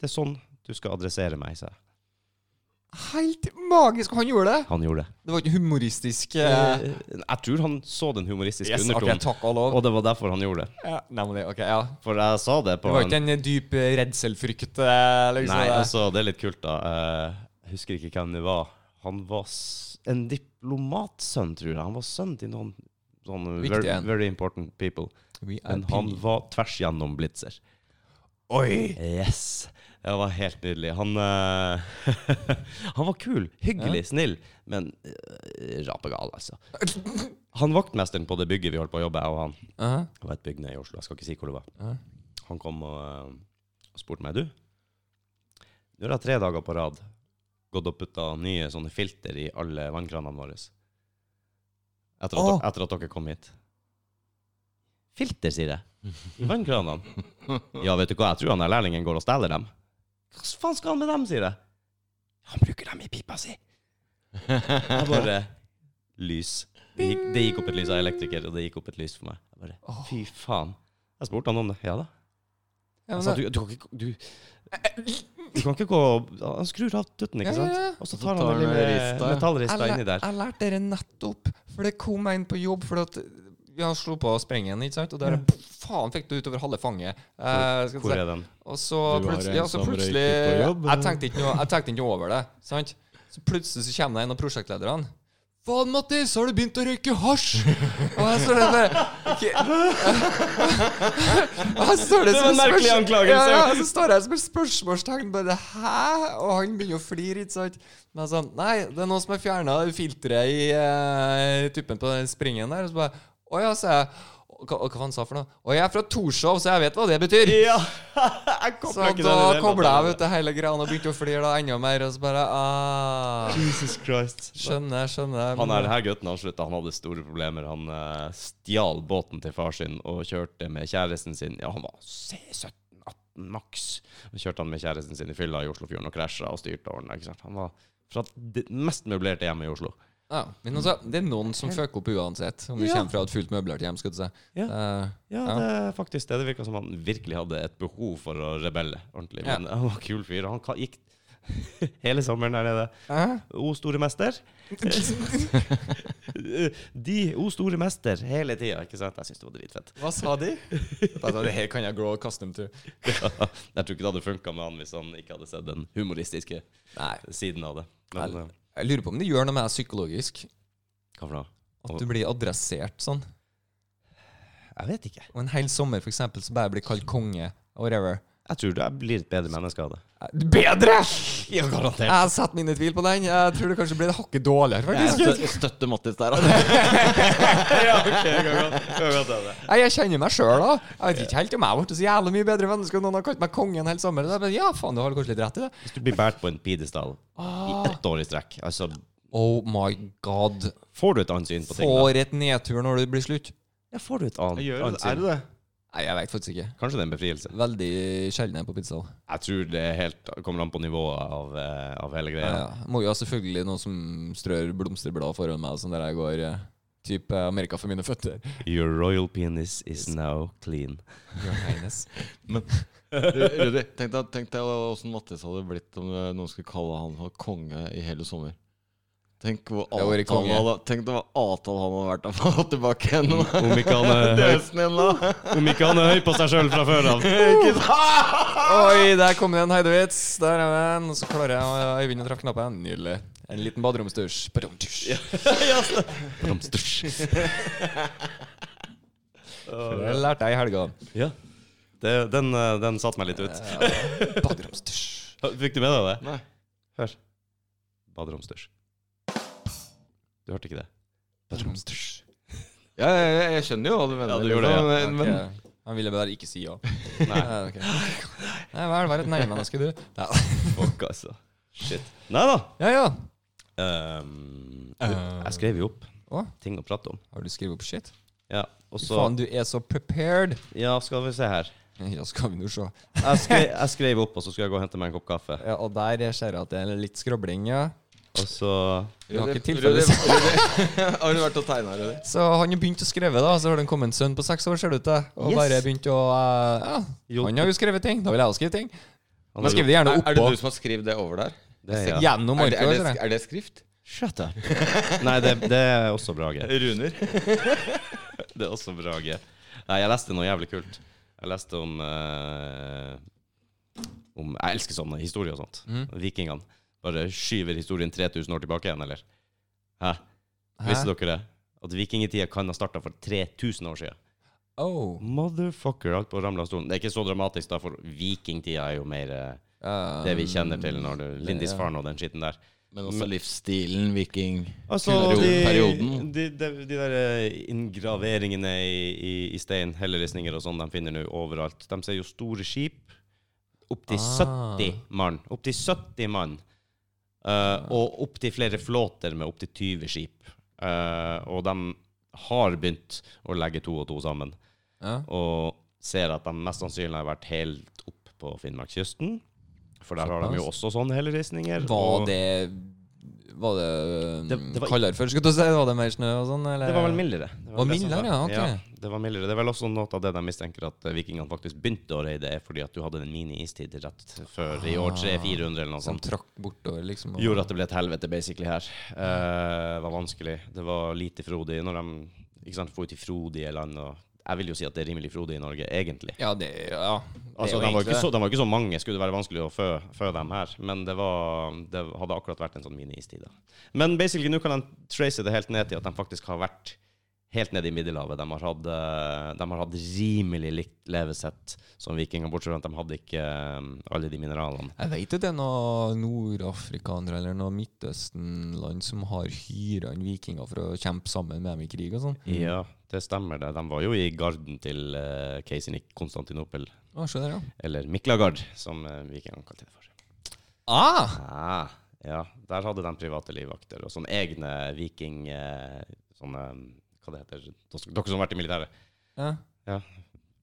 [SPEAKER 1] det er sånn du skal adressere meg, sa jeg.
[SPEAKER 3] Helt magisk! Han gjorde det!
[SPEAKER 1] Han gjorde det.
[SPEAKER 3] Det var ikke humoristisk.
[SPEAKER 1] Eh,
[SPEAKER 3] eh,
[SPEAKER 1] jeg tror han så den humoristiske
[SPEAKER 3] yes, ok,
[SPEAKER 1] undertonen,
[SPEAKER 3] takk og lov.
[SPEAKER 1] og det var derfor han gjorde det.
[SPEAKER 3] Ja, nemlig. Ok, ja.
[SPEAKER 1] For jeg sa det på
[SPEAKER 3] Det var
[SPEAKER 1] en-
[SPEAKER 3] ikke en dyp eh, redselfrykt? eh, Liksom.
[SPEAKER 1] Nei,
[SPEAKER 3] det.
[SPEAKER 1] altså, det er litt kult, da. Eh, Jeg husker ikke hvem det var. Han var s en diplomatsønn, tror jeg. Han var sønn til noen sånne
[SPEAKER 3] Viktig
[SPEAKER 1] very,
[SPEAKER 3] en.
[SPEAKER 1] very important people. Men han var tvers gjennom blitzer.
[SPEAKER 3] Oi!
[SPEAKER 1] Yes! Det var helt nydelig. Han, eh, han var kul, hyggelig, snill, men eh, rapegal, altså. Han vaktmesteren på det bygget vi holdt på å jobbe, jeg og han.
[SPEAKER 3] Aha.
[SPEAKER 1] Det var et bygg nede i Oslo, jeg skal ikke si hvor det var.
[SPEAKER 3] Ja.
[SPEAKER 1] Han kom og eh, spurte meg, du, nå har jeg tre dager på rad gått og putta nye sånne filter i alle vannkranene våre. Etter at,
[SPEAKER 3] Åh.
[SPEAKER 1] etter at dere kom hit. Filter, sier jeg. I vannkranene. Ja, vet du hva, jeg tror han der lærlingen går og stjeler dem. Hva faen skal han med dem, sier jeg. Han bruker dem i pipa si. Jeg bare Lys. Det gikk, det gikk opp et lys av elektriker, og det gikk opp et lys for meg. Jeg bare, Fy faen. Jeg spurte han om det. Ja da.
[SPEAKER 3] Ja, men
[SPEAKER 1] Jeg sa, du,
[SPEAKER 3] det-
[SPEAKER 1] du, kan ikke, du, du kan ikke gå Han skrur av tutten, ikke
[SPEAKER 3] Ja,
[SPEAKER 1] sant?
[SPEAKER 3] ja, ja.
[SPEAKER 1] Og så
[SPEAKER 2] Så
[SPEAKER 1] tar
[SPEAKER 2] tar
[SPEAKER 1] han den
[SPEAKER 2] han
[SPEAKER 1] lille
[SPEAKER 2] rista.
[SPEAKER 1] metallrista
[SPEAKER 3] jeg,
[SPEAKER 1] inni
[SPEAKER 3] lær-
[SPEAKER 1] der.
[SPEAKER 3] jeg lærte dere nettopp, for det kom en på jobb fordi at vi har slo på sprengen, ikke sant? Og der faen fikk du utover halve fanget. Eh, skal vi
[SPEAKER 1] Hvor
[SPEAKER 3] si.
[SPEAKER 1] er den?
[SPEAKER 3] Og så
[SPEAKER 2] Du var
[SPEAKER 3] plutselig, ja,
[SPEAKER 2] en
[SPEAKER 3] så
[SPEAKER 2] som
[SPEAKER 3] plutselig
[SPEAKER 2] røyket på jobb,
[SPEAKER 3] jeg, tenkte ikke noe, jeg tenkte ikke noe over det. Sant? Så plutselig så kommer det en av prosjektlederne. Faen, Mattis, har du begynt å røyke hasj? Og jeg står der bare «Ok». Og jeg står der
[SPEAKER 1] Det var en
[SPEAKER 3] som et spørs-
[SPEAKER 1] merkelig anklagelse.
[SPEAKER 3] Ja, ja, så står jeg som et spørsmålstegn. Bare hæ? Og han begynner å flire, ikke sant? Men jeg sa nei, det er noen som har fjerna filteret i eh, tuppen på den springen der. Og så bare å ja, sa jeg. Og Hva, og hva han sa for noe? Og jeg er fra Torshov, så jeg vet hva det betyr.
[SPEAKER 1] Ja! Jeg
[SPEAKER 3] Så da kobla jeg ut det hele greia og begynte å flire da enda mer. Og så bare ah,
[SPEAKER 1] Jesus Christ.
[SPEAKER 3] Skjønner, skjønner.
[SPEAKER 1] Han er her gutten han slutta. Han hadde store problemer. Han eh, stjal båten til far sin og kjørte med kjæresten sin. Ja, han var 17-18 maks. Så kjørte han med kjæresten sin i fylla i Oslofjorden og krasja og styrte og ordna. ikke sant? Han var fra det mest møblerte hjemmet i Oslo.
[SPEAKER 3] ja, men altså, det er noen som fucker opp uansett, om du
[SPEAKER 1] Ja.
[SPEAKER 3] kommer fra et fullt møblert hjem. skulle du si. Eh,
[SPEAKER 1] Ja, det er faktisk det. Det virka som han virkelig hadde et behov for å rebelle ordentlig.
[SPEAKER 3] Ja.
[SPEAKER 1] Men han var en kul fyr. Han ka- gikk hele sommeren der nede.
[SPEAKER 3] Hæ?
[SPEAKER 1] O store mester. De O store mester hele tida, ikke sant? Jeg syns det var dritfett.
[SPEAKER 3] Hva sa de? Da sa de, her kan jeg grow a custom to.
[SPEAKER 1] Jeg tror ikke det hadde funka med han hvis han ikke hadde sett den humoristiske
[SPEAKER 3] Nei,
[SPEAKER 1] siden av det. Men eh,
[SPEAKER 3] jeg lurer på om det gjør noe med deg psykologisk.
[SPEAKER 1] hva for noe?
[SPEAKER 3] At du blir adressert sånn.
[SPEAKER 1] Jeg vet ikke.
[SPEAKER 3] Og en hel sommer, for eksempel, så bare blir kalt konge. Whatever. Eh,
[SPEAKER 1] Jeg tror du jeg blir et bedre menneske av det.
[SPEAKER 3] Bedre!
[SPEAKER 1] Ja, garantert.
[SPEAKER 3] Jeg setter mine tvil på den. Jeg tror det kanskje blir hakket dårligere, faktisk.
[SPEAKER 2] Jeg støtter Mattis der, altså.
[SPEAKER 1] ja, ok, kan godt- kan godt hende.
[SPEAKER 3] Nei, jeg kjenner meg sjøl, da. Jeg vet ikke helt om jeg har blitt så jævlig mye bedre menneske enn noen har kalt meg kongen hele sommeren. Så jeg bare, Ja, faen, du har kanskje litt rett i det.
[SPEAKER 1] Hvis du blir båret på en pidestall i ett år i strekk, altså
[SPEAKER 3] Oh my god.
[SPEAKER 1] Får du et annet syn på ting? da?
[SPEAKER 3] For et nedtur når det blir slutt.
[SPEAKER 1] Ja, får du et annet, annet
[SPEAKER 2] Er
[SPEAKER 1] syn?
[SPEAKER 2] det det?
[SPEAKER 3] Nei, jeg veit faktisk ikke.
[SPEAKER 1] Kanskje det er en befrielse?
[SPEAKER 3] Veldig sjelden jeg er på pizza.
[SPEAKER 1] Jeg tror det er helt, kommer an på nivået av, eh, av hele
[SPEAKER 3] Ja.
[SPEAKER 1] greia.
[SPEAKER 3] Ja. Må jo ha selvfølgelig noen som strør blomsterblad foran meg, sånn der jeg går eh, type Amerika for mine føtter.
[SPEAKER 1] Your royal penis is now clean.
[SPEAKER 3] Your Highness.
[SPEAKER 2] Ru- Eh, Rudi, tenk deg, tenk deg åssen Mattis hadde blitt om det- noen skulle kalle han for konge i hele sommer. Tenk hvor
[SPEAKER 3] Det hadde
[SPEAKER 2] avtalen
[SPEAKER 3] vært konge.
[SPEAKER 2] han hadde, tenk det var avtalen han hadde vært av å få tilbake igjen.
[SPEAKER 1] Om ikke han
[SPEAKER 2] Mm.
[SPEAKER 1] er høy,
[SPEAKER 2] Døsen igjen da.
[SPEAKER 1] om ikke han er høy på seg sjøl fra før av.
[SPEAKER 3] Oi, der kom det en heidevits. Der er den. Og så klarer jeg å Øyvind å treffe knappen. Nydelig. En liten baderomsdusj. Badumdusj. Det lærte jeg i helga.
[SPEAKER 1] Ja. Det, den, eh, den satte meg litt ut.
[SPEAKER 3] Baderomsdusj.
[SPEAKER 1] Fikk du med deg det?
[SPEAKER 2] Nei.
[SPEAKER 1] Hør. Baderomsdusj. Du hørte ikke det?
[SPEAKER 3] Baderomsdusj.
[SPEAKER 2] Ja, jeg, jeg, jeg skjønner jo hva du mener. liksom.
[SPEAKER 1] Ja, du gjorde det,
[SPEAKER 2] Men, men,
[SPEAKER 3] Ok. Han ville bare ikke si ja. Ja, ok. Eh, Nei, vel, vær et nei-menneske, du. Ja.
[SPEAKER 1] Fuck, altså. Shit. Nei da.
[SPEAKER 3] ja, ja.
[SPEAKER 1] Ehm,
[SPEAKER 3] Eh.
[SPEAKER 1] jeg skrev jo opp
[SPEAKER 3] Å,
[SPEAKER 1] ting å prate om.
[SPEAKER 3] har du skrevet opp shit?
[SPEAKER 1] Ja, og så
[SPEAKER 3] Faen, du er så prepared.
[SPEAKER 1] Ja, skal vi se her.
[SPEAKER 3] Ja, skal vi nå se.
[SPEAKER 1] Jeg skrev, jeg skrev opp, og så skal jeg gå og hente meg en kopp kaffe.
[SPEAKER 3] Ja, og der jeg ser jeg at det er litt skrobling, ja.
[SPEAKER 1] Og så
[SPEAKER 3] Du har ikke
[SPEAKER 2] Rudi-
[SPEAKER 3] tilfelle
[SPEAKER 2] Rudi- Har du vært og tegna, Rudi?
[SPEAKER 3] Så han har begynt å skrive, da. Så har det kommet en sønn på seks år, ser det ut til. Og
[SPEAKER 1] Yes.
[SPEAKER 3] bare begynt å eh, Ja,
[SPEAKER 1] Jo.
[SPEAKER 3] han har jo skrevet ting. Da vil jeg også skrive ting.
[SPEAKER 1] Han
[SPEAKER 3] Men
[SPEAKER 1] har
[SPEAKER 3] skriv det gjerne
[SPEAKER 2] Er, er det
[SPEAKER 3] oppå.
[SPEAKER 2] du som har skrevet det over der?
[SPEAKER 1] Det,
[SPEAKER 3] Se-
[SPEAKER 1] ja.
[SPEAKER 3] Gjennom
[SPEAKER 2] Er det,
[SPEAKER 3] marka.
[SPEAKER 2] er
[SPEAKER 3] ser
[SPEAKER 2] det,
[SPEAKER 3] jeg.
[SPEAKER 2] er det skrift?
[SPEAKER 1] Shut up. Nei, det, det er også Brage.
[SPEAKER 2] Runer.
[SPEAKER 1] Det er også Brage. Nei, jeg leste noe jævlig kult. Jeg leste om, eh, om Jeg elsker sånne historier og sånt. Vikingene. Bare skyver historien 3000 år tilbake igjen, eller? Hæ? Visste dere det? At vikingtida kan ha starta for 3000 år siden.
[SPEAKER 3] Oh.
[SPEAKER 1] Motherfucker, alt på ramla av stolen. Det er ikke så dramatisk, da, for vikingtida er jo mer eh,
[SPEAKER 3] eh,
[SPEAKER 1] det vi kjenner til når du Lindisfarne og den skitten der.
[SPEAKER 2] Men også livsstilen, viking
[SPEAKER 1] Altså, de,
[SPEAKER 2] Perioden.
[SPEAKER 1] de, de, de der eh, inngraveringene i, i, i stein, helleristninger og sånn, de finner nå overalt. De ser jo store skip. Opptil
[SPEAKER 3] Ah.
[SPEAKER 1] 70 mann. Opptil 70 mann. Uh, og opptil flere flåter med opptil 20 skip. Eh, og de har begynt å legge to og to sammen.
[SPEAKER 3] Ja.
[SPEAKER 1] Og ser at de mest sannsynlig har vært helt opp på Finnmarkskysten. For der har de jo også sånne helleristninger.
[SPEAKER 3] Var
[SPEAKER 1] og-
[SPEAKER 3] det Var det,
[SPEAKER 1] Det- det var-
[SPEAKER 3] kaldere før? Skulle du si var det mer snø og sånn? eller?
[SPEAKER 1] Det var vel mildere. Det
[SPEAKER 3] Var
[SPEAKER 1] vel det som
[SPEAKER 3] mildere,
[SPEAKER 1] var-
[SPEAKER 3] ja, ok.
[SPEAKER 1] det var mildere. Det er vel også noe av det de mistenker at eh, vikingene faktisk begynte å reide, er fordi at du hadde en mini-istid rett før i år
[SPEAKER 3] Ah.
[SPEAKER 1] 300-400 eller noe
[SPEAKER 3] Som
[SPEAKER 1] sånt.
[SPEAKER 3] trakk bortover, liksom. og-
[SPEAKER 1] Gjorde at det ble et helvete basically her. Eh, Det var vanskelig. Det var lite frodig når de ikke sant, for ut i frodige land. og Jeg vil jo si at det er rimelig frodig i Norge, egentlig.
[SPEAKER 3] Ja, det ja. Det
[SPEAKER 1] Altså,
[SPEAKER 3] er jo
[SPEAKER 1] de, var
[SPEAKER 3] egentlig
[SPEAKER 1] ikke så,
[SPEAKER 3] det.
[SPEAKER 1] de var ikke så mange, skulle det være vanskelig å fø, fø dem her. Men det, var, det hadde akkurat vært en sånn mini-istid. da. Men basically, nå kan de trace det helt ned til at de faktisk har vært helt nede i Middelhavet. De har hatt, eh, de har hatt rimelig likt levesett som vikinger, bortsett fra at de hadde ikke eh, alle de mineralene.
[SPEAKER 3] Jeg vet at det er noen nordafrikanere eller noen Midtøsten-land som har hyra inn vikinger for å kjempe sammen med dem i krig og sånn.
[SPEAKER 1] Ja, det stemmer det. De var jo i garden til eh, keiseren i Konstantinopel,
[SPEAKER 3] Ja, skjønner jeg.
[SPEAKER 1] eller Miklagard, som eh, vikingene kalte det for.
[SPEAKER 3] Ah!
[SPEAKER 1] Ah, ja, der hadde de private livvakter og sånne egne viking... eh, Sånne, hva det heter, dere dere som har vært i militæret.
[SPEAKER 3] Ja.
[SPEAKER 1] Ja.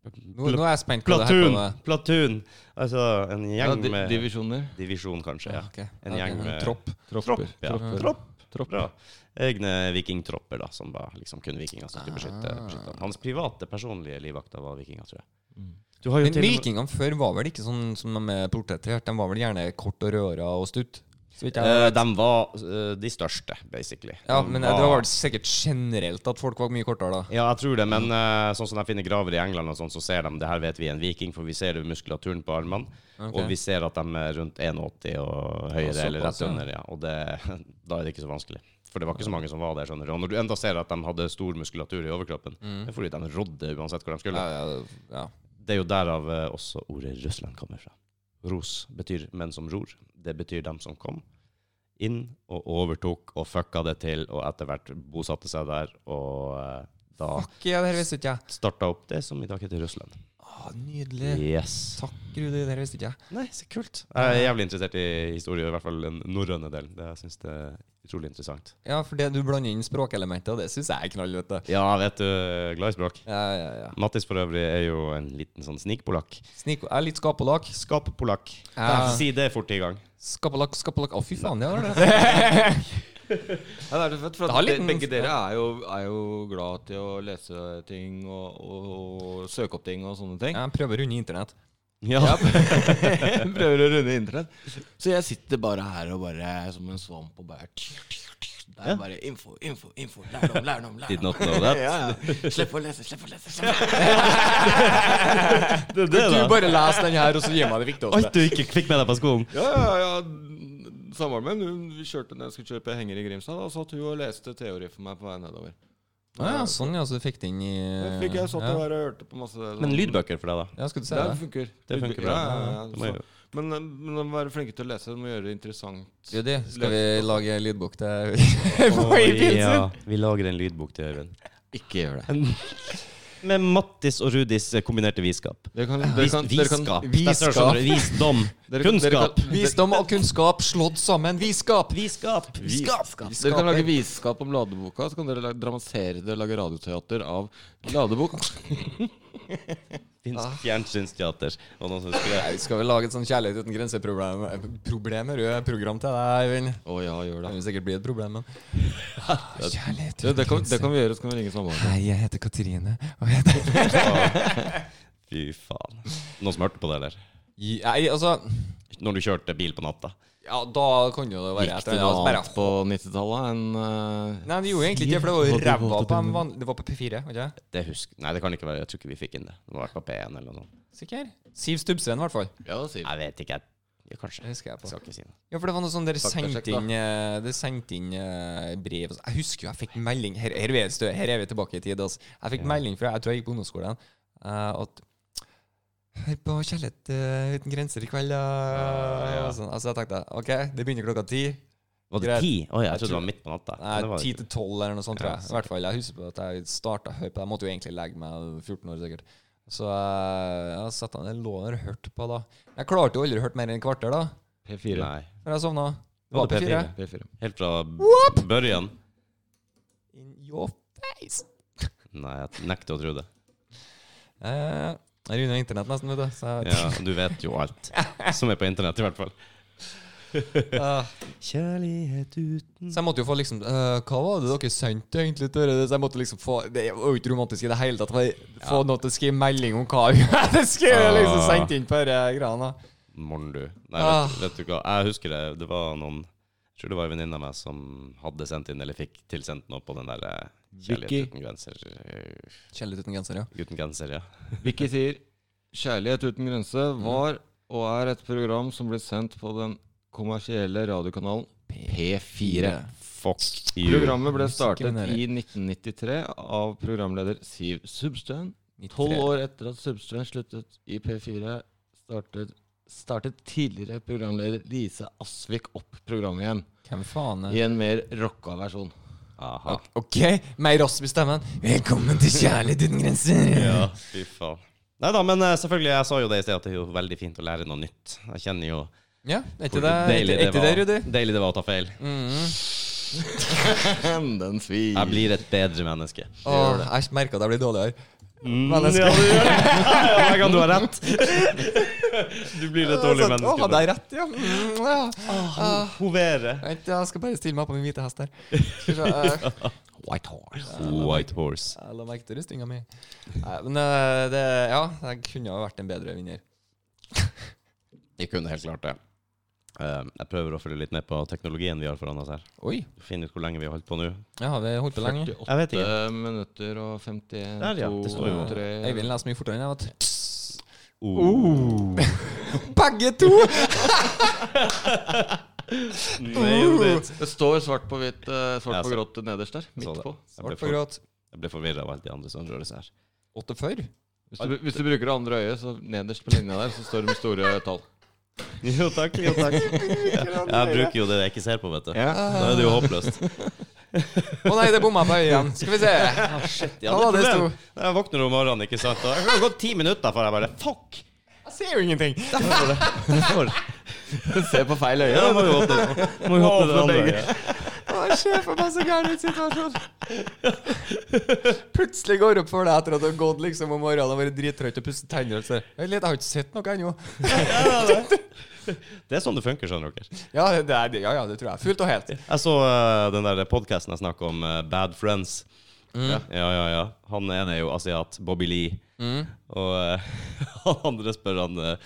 [SPEAKER 3] Nå, nå er jeg spent på det her.
[SPEAKER 1] Platoon!
[SPEAKER 3] på det.
[SPEAKER 1] Platoon! Altså en
[SPEAKER 2] Ja,
[SPEAKER 1] gjeng
[SPEAKER 2] di
[SPEAKER 1] med
[SPEAKER 2] divisjoner.
[SPEAKER 1] Divisjon, kanskje.
[SPEAKER 3] Ja,
[SPEAKER 1] ja.
[SPEAKER 3] ok.
[SPEAKER 1] En
[SPEAKER 3] Ok,
[SPEAKER 1] gjeng med
[SPEAKER 3] Tropp.
[SPEAKER 2] Tropper.
[SPEAKER 1] Ja,
[SPEAKER 2] Tropper.
[SPEAKER 1] tropp.
[SPEAKER 2] Tropper.
[SPEAKER 1] Bra. Egne vikingtropper, da, som var liksom kun vikinger som skulle beskytte,
[SPEAKER 3] Ah.
[SPEAKER 1] beskytte ham. Hans private, personlige livvakter var vikinger, tror jeg.
[SPEAKER 2] Mm.
[SPEAKER 1] Du har jo
[SPEAKER 3] Men
[SPEAKER 1] til og med-
[SPEAKER 3] vikingene før var vel ikke sånn som de er portrettert? De var vel gjerne kort og rødhåra og stutt? Så vidt jeg
[SPEAKER 1] Eh,
[SPEAKER 3] vet.
[SPEAKER 1] de var eh, de største, basically.
[SPEAKER 3] Ja,
[SPEAKER 1] De
[SPEAKER 3] men eh, det var vel sikkert generelt at folk var mye kortere da.
[SPEAKER 1] Ja, jeg tror det, men eh, sånn som de finner graver i England, og sånn, så ser de det her vet vi er en viking, for vi ser jo muskulaturen på armene,
[SPEAKER 3] Ok.
[SPEAKER 1] og vi ser at de er rundt 1,80 og
[SPEAKER 3] Ja,
[SPEAKER 1] høyere,
[SPEAKER 3] såpass,
[SPEAKER 1] eller rett
[SPEAKER 3] ja.
[SPEAKER 1] under. Ja. Og det, da er det ikke så vanskelig. For det var ikke så mange som var der. skjønner du. Og når du enda ser at de hadde stor muskulatur i overkroppen,
[SPEAKER 3] Mm.
[SPEAKER 1] det er fordi de rodde uansett hvor de skulle.
[SPEAKER 3] Ja, ja, ja.
[SPEAKER 1] Det er jo derav eh, også ordet Russland kommer fra. Ros betyr menn som ror. Det betyr dem som kom inn og overtok og fucka det til, og etter hvert bosatte seg der, og eh, da
[SPEAKER 3] Fuck, ja, det her visste ikke jeg.
[SPEAKER 1] starta opp det som i dag heter Russland.
[SPEAKER 3] Ah, nydelig.
[SPEAKER 1] Yes.
[SPEAKER 3] Takk, Rudi, det her visste ikke jeg.
[SPEAKER 1] Nei, så kult. Jeg er jævlig interessert i historie, i hvert fall den norrøne delen. Det jeg synes det er utrolig interessant.
[SPEAKER 3] Ja, for det du blander inn språkelementet, og det syns jeg er knall, vet du.
[SPEAKER 1] Ja, vet du, glad i språk.
[SPEAKER 3] Ja, ja, ja.
[SPEAKER 1] Mattis for øvrig er jo en liten sånn snikpolakk.
[SPEAKER 3] Snik, jeg er litt skapelak.
[SPEAKER 1] Skappolakk.
[SPEAKER 3] Ja.
[SPEAKER 1] Si det fort i gang.
[SPEAKER 3] Skapelak, skapelak. Å, fy faen, det var det.
[SPEAKER 2] Ja, det er så fett, for
[SPEAKER 3] Det har
[SPEAKER 2] at de-
[SPEAKER 3] liten-
[SPEAKER 2] begge dere er jo, er jo glad til å lese ting og, og, og søke opp ting og sånne ting.
[SPEAKER 3] Jeg prøver å runde internett.
[SPEAKER 1] Ja.
[SPEAKER 2] Prøver å runde internett. Så jeg sitter bare her og bare som en svamp og bare Det er bare info, info, info. Lærdom, lærdom,
[SPEAKER 1] Did
[SPEAKER 2] lærdom.
[SPEAKER 1] not know that.
[SPEAKER 2] Ja, ja. Slipp å lese, slipp å lese. Slipp. å-
[SPEAKER 1] Det er
[SPEAKER 3] Du bare les den her, og så gir meg det viktigste.
[SPEAKER 1] Alt du ikke fikk med deg på skolen.
[SPEAKER 2] Ja, ja, ja. samboeren min hun kjørte når jeg skulle kjøpe henger i Grimstad. Da satt hun og leste teori for meg på vei nedover.
[SPEAKER 3] Ah, ja, sånn, ja. Så du fikk det inn i
[SPEAKER 2] Da Fikk jeg satt
[SPEAKER 3] ja.
[SPEAKER 2] der og hørte på masse sånn-
[SPEAKER 1] Men lydbøker for deg, da?
[SPEAKER 3] Ja, skal du se
[SPEAKER 2] Det
[SPEAKER 3] det?
[SPEAKER 2] funker.
[SPEAKER 1] Det funker bra.
[SPEAKER 2] Ja, ja, ja,
[SPEAKER 1] Det må jeg
[SPEAKER 2] Så- Men, eh, men de må være flinke til å lese. De må gjøre det interessant.
[SPEAKER 3] Ja, det. Skal vi lage lydbok til
[SPEAKER 1] Å,
[SPEAKER 3] Øyvind sin?
[SPEAKER 1] ja, vi lager en lydbok til Øyvind.
[SPEAKER 2] Ikke gjør det.
[SPEAKER 1] Med Mattis og Rudis eh, kombinerte visskap.
[SPEAKER 2] Dere kan, dere
[SPEAKER 1] Vis,
[SPEAKER 2] kan, dere kan,
[SPEAKER 1] visskap.
[SPEAKER 3] visskap.
[SPEAKER 1] Visskap. Skjønner, du? sånn visdom.
[SPEAKER 2] Dere kan- dere kan-
[SPEAKER 1] Kunnskap.
[SPEAKER 3] Visdom og kunnskap slått sammen. Visskap!
[SPEAKER 1] Visskap.
[SPEAKER 3] Visskap!
[SPEAKER 2] dere kan lage visskap om Ladeboka, så kan dere la- dramatisere det og lage radioteater av Ladeboka.
[SPEAKER 1] Finsk fjernsynsteater. Og noen som skulle
[SPEAKER 3] Nei, Skal vi lage et sånn Kjærlighet uten grenser-problem Problemer, rød program til deg, Øyvind?
[SPEAKER 2] Å ja, gjør
[SPEAKER 3] Det
[SPEAKER 2] det.
[SPEAKER 3] vil sikkert bli et problem, men Ah, Kjærlighet
[SPEAKER 2] Det, det, kan, det kan vi gjøre, så kan vi ringe samboeren.
[SPEAKER 3] Hei, jeg heter Katrine. Og jeg heter
[SPEAKER 1] Fy faen. Noen som hørte på det, eller?
[SPEAKER 3] Nei, altså
[SPEAKER 1] Når du kjørte bil på natta?
[SPEAKER 3] Ja, da kan jo det være
[SPEAKER 2] Gikk
[SPEAKER 3] et
[SPEAKER 2] det
[SPEAKER 3] eller
[SPEAKER 2] noe
[SPEAKER 3] annet.
[SPEAKER 2] annet
[SPEAKER 3] Bare,
[SPEAKER 2] på 90-tallet enn eh,
[SPEAKER 3] nei, det gjorde egentlig ikke det, for det var jo ræva på en vanlig Det var på P4, var ikke det?
[SPEAKER 1] Det husk... Nei, det kan ikke være. Jeg tror ikke vi fikk inn det. Det må ha vært på P1 eller noe sånt.
[SPEAKER 3] Sikker? Siv Stubbsveen, i hvert fall.
[SPEAKER 2] Ja, det sier vi.
[SPEAKER 1] Jeg vet ikke. jeg- Ja, kanskje.
[SPEAKER 3] Det husker jeg
[SPEAKER 1] Jeg
[SPEAKER 3] på.
[SPEAKER 1] skal ikke si noe.
[SPEAKER 3] Ja, for det var noe sånn dere
[SPEAKER 2] Faktasjekk,
[SPEAKER 3] sendte
[SPEAKER 2] da.
[SPEAKER 3] inn, eh, dere sendte inn eh, brev og så- Jeg husker jo jeg fikk melding Her, her, er, vi, stø- her er vi tilbake i tid. Altså. Jeg fikk melding fra Jeg tror jeg gikk på ungdomsskolen. eh, at Hør på Kjærlighet eh, uten grenser i kveld, da.
[SPEAKER 1] Ja, ja.
[SPEAKER 3] og Sånn. Altså, jeg tenkte OK, det begynner klokka ti.
[SPEAKER 1] Var det
[SPEAKER 3] Greit.
[SPEAKER 1] ti? Å ja,
[SPEAKER 3] Jeg
[SPEAKER 1] jeg trodde det
[SPEAKER 3] tror-
[SPEAKER 1] var midt på natta. Men det
[SPEAKER 3] Nei,
[SPEAKER 1] var det
[SPEAKER 3] ti
[SPEAKER 1] ikke.
[SPEAKER 3] til tolv eller noe sånt, tror
[SPEAKER 1] Ja,
[SPEAKER 3] jeg. I hvert fall, Jeg husker på at jeg starta å høre på det. Jeg måtte jo egentlig legge meg 14 år, sikkert. Så eh, jeg satt den der lå der og hørte på, da. Jeg klarte jo aldri å høre mer enn et kvarter, da.
[SPEAKER 2] P4.
[SPEAKER 1] Nei.
[SPEAKER 3] Når jeg sovna.
[SPEAKER 1] Var det P4?
[SPEAKER 2] P4.
[SPEAKER 1] Helt fra børjen?
[SPEAKER 3] In your face.
[SPEAKER 1] Nei, jeg nekter å tro det.
[SPEAKER 3] Ja, ja, ja. Jeg runder internett nesten, vet du. Så jeg,
[SPEAKER 1] Ja, du vet jo alt som er på internett, i hvert fall.
[SPEAKER 3] Ah,
[SPEAKER 1] Kjærlighet uten
[SPEAKER 3] så jeg måtte jo få liksom eh, Hva var det dere sendte egentlig til det? Så jeg måtte liksom få Det var jo ikke romantisk i det hele tatt. men Få noe til å skrive melding om hva jeg hadde skrevet, liksom
[SPEAKER 1] Ah.
[SPEAKER 3] sendt inn på disse greiene. da.
[SPEAKER 1] Morn, du. Nei,
[SPEAKER 3] Ah.
[SPEAKER 1] vet, vet du hva. Jeg husker det. Det var noen Jeg tror det var en venninne av meg som hadde sendt inn, eller fikk tilsendt noe på den der eh,
[SPEAKER 2] Vicky.
[SPEAKER 1] Kjærlighet uten grenser eh,
[SPEAKER 3] Kjærlighet uten genser, ja.
[SPEAKER 1] Uten genser, ja.
[SPEAKER 2] Vicky sier 'Kjærlighet uten grense' var og er et program som ble sendt på den kommersielle radiokanalen P4.
[SPEAKER 1] Fuck you.
[SPEAKER 2] Programmet ble
[SPEAKER 3] Musikken
[SPEAKER 2] startet
[SPEAKER 3] er-
[SPEAKER 2] i 1993 av programleder Siv Substøen. Tolv
[SPEAKER 3] 12 år.
[SPEAKER 2] år etter at Substøen sluttet i P4, startet, startet tidligere programleder Lise Asvik opp programmet igjen.
[SPEAKER 3] Hvem faen er
[SPEAKER 2] I en mer rocka versjon.
[SPEAKER 1] Aha.
[SPEAKER 3] OK, meg raskt i stemmen. Velkommen til Kjærlighet uten grenser.
[SPEAKER 1] Ja, fy faen. Nei da, men eh, selvfølgelig, jeg sa jo det i sted, at det er jo veldig fint å lære noe nytt. Jeg kjenner jo
[SPEAKER 3] Ja, er
[SPEAKER 1] hvor
[SPEAKER 3] ikke det, er
[SPEAKER 1] deilig
[SPEAKER 3] ikke- er ikke det
[SPEAKER 1] var-
[SPEAKER 3] Rudi? Mm.
[SPEAKER 1] Deilig det var å ta feil.
[SPEAKER 2] Den svir.
[SPEAKER 1] Jeg blir et bedre menneske.
[SPEAKER 3] Åh, jeg merker at jeg blir dårligere. Menneske.
[SPEAKER 1] Ja, du gjør det. Ja, hver gang du har rett. Du blir et dårlig
[SPEAKER 3] Sånn, Å, hadde
[SPEAKER 1] menneske.
[SPEAKER 3] jeg rett, ja? Mm, ja. Ah.
[SPEAKER 1] Hovere.
[SPEAKER 3] Vent, jeg skal bare stille meg på min hvite hest her. Skal vi se, eh,
[SPEAKER 2] White Horse.
[SPEAKER 1] White horse.
[SPEAKER 3] Jeg la merke til rustninga mi. Nei, Men eh, det, ja, jeg kunne ha vært en bedre vinner.
[SPEAKER 1] Jeg kunne helt klart det. Eh, Jeg prøver å følge litt med på teknologien vi har foran oss her.
[SPEAKER 3] Oi.
[SPEAKER 1] Finne ut hvor lenge vi har holdt på nå.
[SPEAKER 3] Ja, har vi holdt på lenge?
[SPEAKER 2] 48
[SPEAKER 1] Jeg vet ikke.
[SPEAKER 2] minutter og 51
[SPEAKER 1] Der, ja, det står jo.
[SPEAKER 2] 2, 3
[SPEAKER 3] Eivind leser mye fortere enn jeg, vet du.
[SPEAKER 1] Oh.
[SPEAKER 3] Begge to!
[SPEAKER 1] Nailed it.
[SPEAKER 2] Det står svart på hvitt, eh,
[SPEAKER 1] Jeg
[SPEAKER 2] svart på
[SPEAKER 1] så-
[SPEAKER 2] grått nederst der.
[SPEAKER 1] Så
[SPEAKER 2] Midt
[SPEAKER 1] det. Jeg
[SPEAKER 2] på.
[SPEAKER 1] ble
[SPEAKER 3] Svart på
[SPEAKER 1] for-
[SPEAKER 3] gråt.
[SPEAKER 1] jeg ble forvirra av alt det andre som rører seg her.
[SPEAKER 3] 48?
[SPEAKER 2] Hvis du, hvis du bruker det andre øyet, så nederst på linja der, så står det med store tall.
[SPEAKER 1] Jo takk, jo takk. Jeg bruker jo det jeg ikke ser på, vet du. Da er det jo håpløst.
[SPEAKER 3] Å nei, det bomma jeg på øyet igjen. Skal vi se.
[SPEAKER 1] Ja,
[SPEAKER 3] Ja,
[SPEAKER 1] det
[SPEAKER 3] det
[SPEAKER 1] er
[SPEAKER 3] sto.
[SPEAKER 1] problem. Jeg våkner om morgenen, ikke sant. Og det har gått ti minutter før jeg bare Fuck!
[SPEAKER 3] Jeg ser jo ingenting.
[SPEAKER 1] Derfor.
[SPEAKER 2] Se på feil øye.
[SPEAKER 1] Ja, da må vi åpne, må vi åpne det andre. øyet.
[SPEAKER 3] Å, Sjef, jeg bare så gæren ut situasjon. Plutselig går det opp for deg etter at du har gått liksom om morgenen og vært drittrøtt og pusset tenner. og så, Vent litt, jeg har ikke sett noe ennå.
[SPEAKER 1] Det er sånn det funker, skjønner dere.
[SPEAKER 3] Ja, det er, det- ja, ja, det tror jeg. Fullt og helt.
[SPEAKER 1] Jeg så eh, den der podkasten jeg snakka om, eh, Bad Friends. Ja, ja, ja, ja. Han ene er jo asiat, Bobby Lee. Og eh, han andre spør han eh,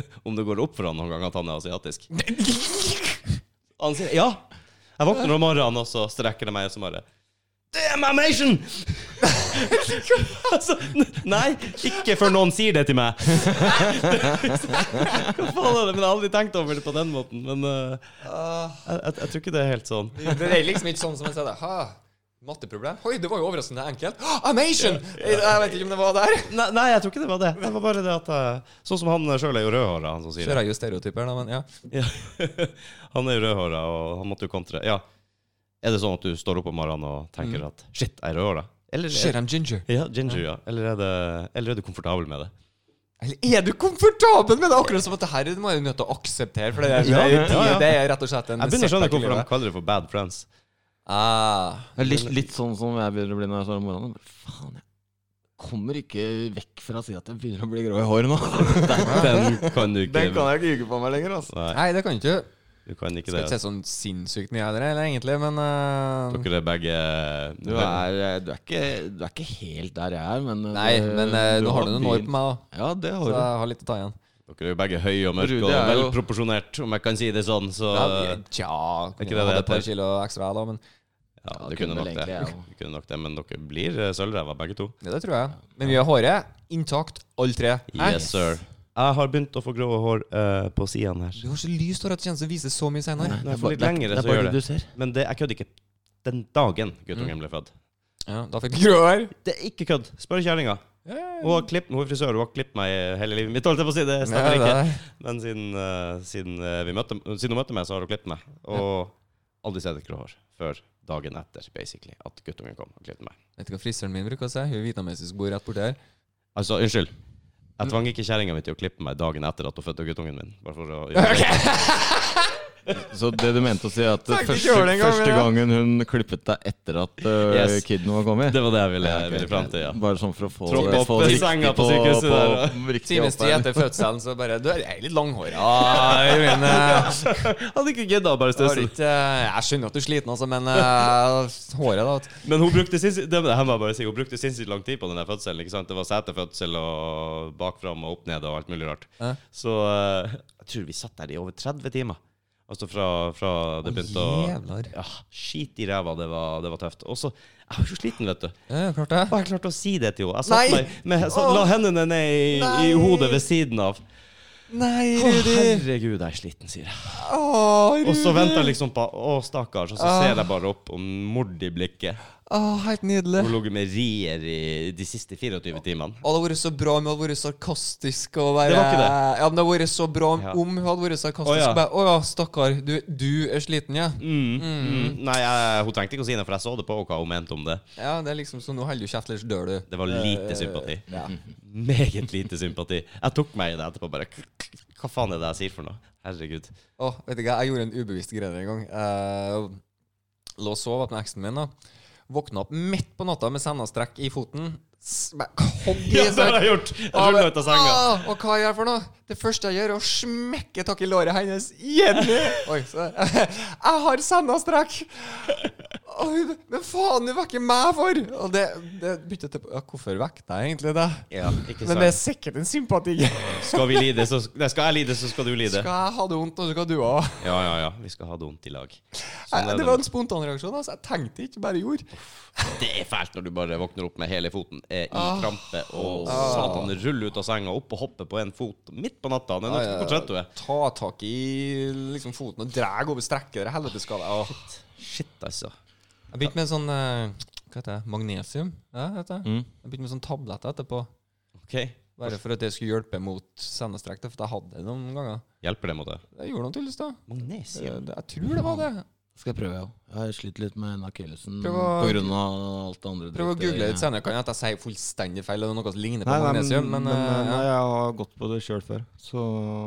[SPEAKER 1] om det går opp for han noen gang at han er asiatisk. Han sier ja. Jeg våkner om morgenen, og så strekker jeg meg og så bare Damn, I'm Asian! altså, n- nei, ikke før noen sier det til meg. Hva faen er det? Men jeg har aldri tenkt over det på den måten. Men eh, jeg, jeg, jeg tror ikke det er helt sånn.
[SPEAKER 3] Ah. Det det er liksom ikke sånn som jeg sa det. Ha, matteproblem? Oi, det var jo overraskende enkelt. Ah, I'm Asian! Jeg vet ikke om det var der.
[SPEAKER 1] Nei, nei, jeg tror ikke det var det. Det var bare det at jeg, Sånn som han sjøl er jo rødhåra, han som sier det.
[SPEAKER 3] Kjører jeg jo stereotyper, da, men ja.
[SPEAKER 1] Ja. Han er jo rødhåra, og han måtte jo kontre. Ja. Er det sånn at du står opp om morgenen og tenker at shit, jeg er rødhåra? Eller
[SPEAKER 3] Shit,
[SPEAKER 1] er,
[SPEAKER 3] I'm ginger.
[SPEAKER 1] Mm. ja, ginger, Mm. ja. Eller er, det, eller er du komfortabel med det?
[SPEAKER 3] Eller er du komfortabel med det? Akkurat som at det her må jeg jo nødt til å akseptere. For det er,
[SPEAKER 1] Ja,
[SPEAKER 3] det er,
[SPEAKER 1] ja, ja.
[SPEAKER 3] Det er rett og slett en
[SPEAKER 1] Jeg begynner å skjønne
[SPEAKER 3] setback i
[SPEAKER 1] hvorfor de
[SPEAKER 3] livet.
[SPEAKER 1] kaller det for bad friends.
[SPEAKER 3] Ah,
[SPEAKER 2] Det er litt, litt sånn som jeg begynner å bli når jeg står om morgenen. Men faen, jeg kommer ikke vekk fra å si at jeg begynner å bli grå i håret nå.
[SPEAKER 1] Den kan du ikke.
[SPEAKER 2] jeg ikke ljuge på meg lenger, altså.
[SPEAKER 1] Nei,
[SPEAKER 3] nei, det kan ikke
[SPEAKER 1] du kan ikke
[SPEAKER 3] Skal ikke
[SPEAKER 1] det.
[SPEAKER 3] si sånn sinnssykt mye av det, eller egentlig, men eh,
[SPEAKER 1] Dere er begge
[SPEAKER 2] Du er, eh, du, er ikke, du er ikke helt der jeg er, men
[SPEAKER 3] Nei, men eh, nå har du noen år på meg, da.
[SPEAKER 2] Ja, det
[SPEAKER 3] Så
[SPEAKER 2] har du.
[SPEAKER 3] jeg har litt å ta igjen.
[SPEAKER 1] Dere er jo begge høye og mørke
[SPEAKER 2] Rude
[SPEAKER 1] og
[SPEAKER 2] er jo-
[SPEAKER 1] velproporsjonert, om jeg kan si det sånn. Så
[SPEAKER 3] Ja,
[SPEAKER 1] ja,
[SPEAKER 3] vi- Tja,
[SPEAKER 1] ikke
[SPEAKER 3] kunne
[SPEAKER 1] det
[SPEAKER 3] jeg hatt
[SPEAKER 1] det
[SPEAKER 3] et par
[SPEAKER 1] heter?
[SPEAKER 3] kilo ekstra, da, men
[SPEAKER 1] du kunne nok det.
[SPEAKER 2] egentlig, ja.
[SPEAKER 1] Du kunne nok det. Men dere blir eh, sølvrever, begge to.
[SPEAKER 3] ja, det tror jeg. Men vi har håret intakt, alle tre. Hæ?
[SPEAKER 1] Yes, sir. Jeg har begynt å få grå hår eh, på sidene her.
[SPEAKER 3] Du har så lyst hår at det kjennes å vise så mye
[SPEAKER 1] Når
[SPEAKER 3] senere.
[SPEAKER 1] jeg
[SPEAKER 2] bare-
[SPEAKER 1] får litt lengre,
[SPEAKER 2] det er
[SPEAKER 1] så gjør
[SPEAKER 2] bare
[SPEAKER 1] det.
[SPEAKER 2] du ser.
[SPEAKER 1] Men det, jeg kødder ikke. Den dagen guttungen ble født.
[SPEAKER 3] Ja, da fikk du grå hår.
[SPEAKER 1] Det er ikke kødd. Spør kjerringa. Hun har klipp- hun er frisør, hun har klippet meg i hele livet mitt. holdt jeg på å si, Det stemmer
[SPEAKER 3] Ja, det
[SPEAKER 1] ikke.
[SPEAKER 3] er-
[SPEAKER 1] Men siden, eh, siden, eh, vi møtte, siden hun møtte meg, så har hun klippet meg. Og aldri sett et grå hår før dagen etter, basically, at guttungen kom og klippet meg.
[SPEAKER 3] Vet du hva frisøren min bruker å si? Hun er vietnamesisk, bor rett borti her.
[SPEAKER 1] Altså, unnskyld. Jeg tvang ikke kjerringa mi til å klippe meg dagen etter at hun fødte guttungen min. Bare for å gjøre det.
[SPEAKER 2] Så det du mente å si, er at
[SPEAKER 3] Takk, ikke
[SPEAKER 2] første,
[SPEAKER 3] gjør det engang,
[SPEAKER 2] første
[SPEAKER 3] ja.
[SPEAKER 2] gangen hun klippet deg etter at uh,
[SPEAKER 1] Yes.
[SPEAKER 2] kiden var kommet?
[SPEAKER 1] Det var det jeg ville, ville fram til, ja.
[SPEAKER 2] Bare sånn for å få
[SPEAKER 1] Tråkke
[SPEAKER 2] det-
[SPEAKER 1] opp
[SPEAKER 2] få det
[SPEAKER 1] i
[SPEAKER 2] riktig
[SPEAKER 1] senga på sykehuset der,
[SPEAKER 2] riktig
[SPEAKER 3] Times
[SPEAKER 2] opp
[SPEAKER 3] tid
[SPEAKER 2] her.
[SPEAKER 3] etter fødselen så bare Du er litt langhåra. Jeg mener,
[SPEAKER 1] Hadde ikke gidda å bare
[SPEAKER 3] har
[SPEAKER 1] stusse.
[SPEAKER 3] ikke Jeg skjønner at du er sliten, altså, men eh, håret, da. vet du.
[SPEAKER 1] Men hun brukte sinnssykt det, det her må jeg bare si, hun brukte sinnssykt lang tid på den der fødselen. ikke sant? Det var setefødsel og bakfram og opp ned og alt mulig rart.
[SPEAKER 3] Ja.
[SPEAKER 1] Så eh, jeg tror vi satt der i over 30 timer. Altså fra, fra det begynte å
[SPEAKER 3] Jævlar.
[SPEAKER 1] ja, Skit i ræva, det var, det var tøft. Og så Jeg var så sliten, vet du.
[SPEAKER 3] Ja, klart det.
[SPEAKER 1] Og jeg klarte å si det til henne. Jeg
[SPEAKER 3] Nei!
[SPEAKER 1] satt meg, med, så, la
[SPEAKER 3] Åh!
[SPEAKER 1] hendene ned i, i
[SPEAKER 3] Nei!
[SPEAKER 1] hodet ved siden av.
[SPEAKER 3] Nei,
[SPEAKER 1] Å, herregud, jeg er sliten, sier jeg. Og så venter jeg liksom på Å, stakkars. Og
[SPEAKER 3] Ah.
[SPEAKER 1] så ser jeg bare opp og mord i blikket.
[SPEAKER 3] helt nydelig.
[SPEAKER 1] Hun lå med rier i de siste 24 timene.
[SPEAKER 3] Og det hadde vært så bra om hun hadde vært sarkastisk og være
[SPEAKER 1] Det var ikke det.
[SPEAKER 3] Ja, men det hadde vært så bra om
[SPEAKER 1] Ja.
[SPEAKER 3] om hun hadde vært sarkastisk.
[SPEAKER 1] Å, ja.
[SPEAKER 3] og bare, Å ja, stakkar. Du, du er sliten, ja?
[SPEAKER 1] Mm. Nei, jeg, hun trengte ikke å si noe, for jeg så det på henne hva hun mente om det.
[SPEAKER 3] Ja, det er liksom sånn Nå holder du kjeft, ellers dør du.
[SPEAKER 1] Det var
[SPEAKER 3] Eh,
[SPEAKER 1] lite sympati.
[SPEAKER 3] Ja.
[SPEAKER 1] Meget lite sympati. Jeg tok meg i det etterpå. bare Hva faen er det jeg sier for noe? Herregud.
[SPEAKER 3] Å, vet du hva, jeg gjorde en ubevisst greie en gang. Eh, lå og sov opp med eksen min. da. Våkna opp midt på natta med sennastrekk i foten. S- bare Kom i
[SPEAKER 1] Ja, det har jeg gjort! Jeg rulla ut av senga.
[SPEAKER 3] Ah, og hva gjør jeg for noe? Det første jeg gjør, er å smekke tak i låret hennes. Jenny! Oi, så, jeg har sennastrekk! Og hun Men faen, du vekker meg for! Og det, det byttet til ja, Hvorfor vekket jeg egentlig det?
[SPEAKER 1] Ja, ikke
[SPEAKER 3] Men det er
[SPEAKER 1] sant.
[SPEAKER 3] sikkert en sympati.
[SPEAKER 1] Skal vi lide, så Nei, skal jeg lide, så skal du lide.
[SPEAKER 3] Skal jeg ha det vondt, og så skal du òg.
[SPEAKER 1] Ja, ja, ja. Vi skal ha det vondt i lag. Sånn
[SPEAKER 3] Det
[SPEAKER 1] er
[SPEAKER 3] var
[SPEAKER 1] det.
[SPEAKER 3] en spontanreaksjon. Altså. Jeg tenkte ikke, bare gjorde.
[SPEAKER 1] Det er fælt når du bare våkner opp med hele foten eh, i
[SPEAKER 3] Ah.
[SPEAKER 1] krampe, og satan ruller ut av senga, opp og hopper på en fot midt på natta. Det er nødt
[SPEAKER 3] Ja, Ah, ja.
[SPEAKER 1] til å fortsette, du er.
[SPEAKER 3] Ta tak i liksom, foten og dra over strekket. Det helveteskade. Åh.
[SPEAKER 1] Shit, altså.
[SPEAKER 3] Jeg begynte med sånn eh, Hva heter det? Magnesium? Ja, heter det.
[SPEAKER 2] Mm.
[SPEAKER 3] Jeg begynte med sånn tablett etterpå.
[SPEAKER 1] OK.
[SPEAKER 3] Bare for at det skulle hjelpe mot sendestrekk. da, For jeg hadde det noen ganger.
[SPEAKER 1] Hjelper det mot det?
[SPEAKER 3] Jeg gjorde noe tulles, da. Eh,
[SPEAKER 1] Magnesium.
[SPEAKER 3] Jeg, jeg tror det var det.
[SPEAKER 2] Skal jeg prøve, ja. Jeg sliter litt med akillesen
[SPEAKER 3] Prøv å-
[SPEAKER 2] på grunn av alt det andre.
[SPEAKER 3] Prøv å
[SPEAKER 2] drittet.
[SPEAKER 3] google litt senere. Kan jeg at jeg sier fullstendig feil? Eller noe som ligner på
[SPEAKER 2] Nei, nei,
[SPEAKER 3] magnesium? Men,
[SPEAKER 2] men,
[SPEAKER 3] eh,
[SPEAKER 2] nei,
[SPEAKER 3] ja,
[SPEAKER 2] jeg har gått på det sjøl før, så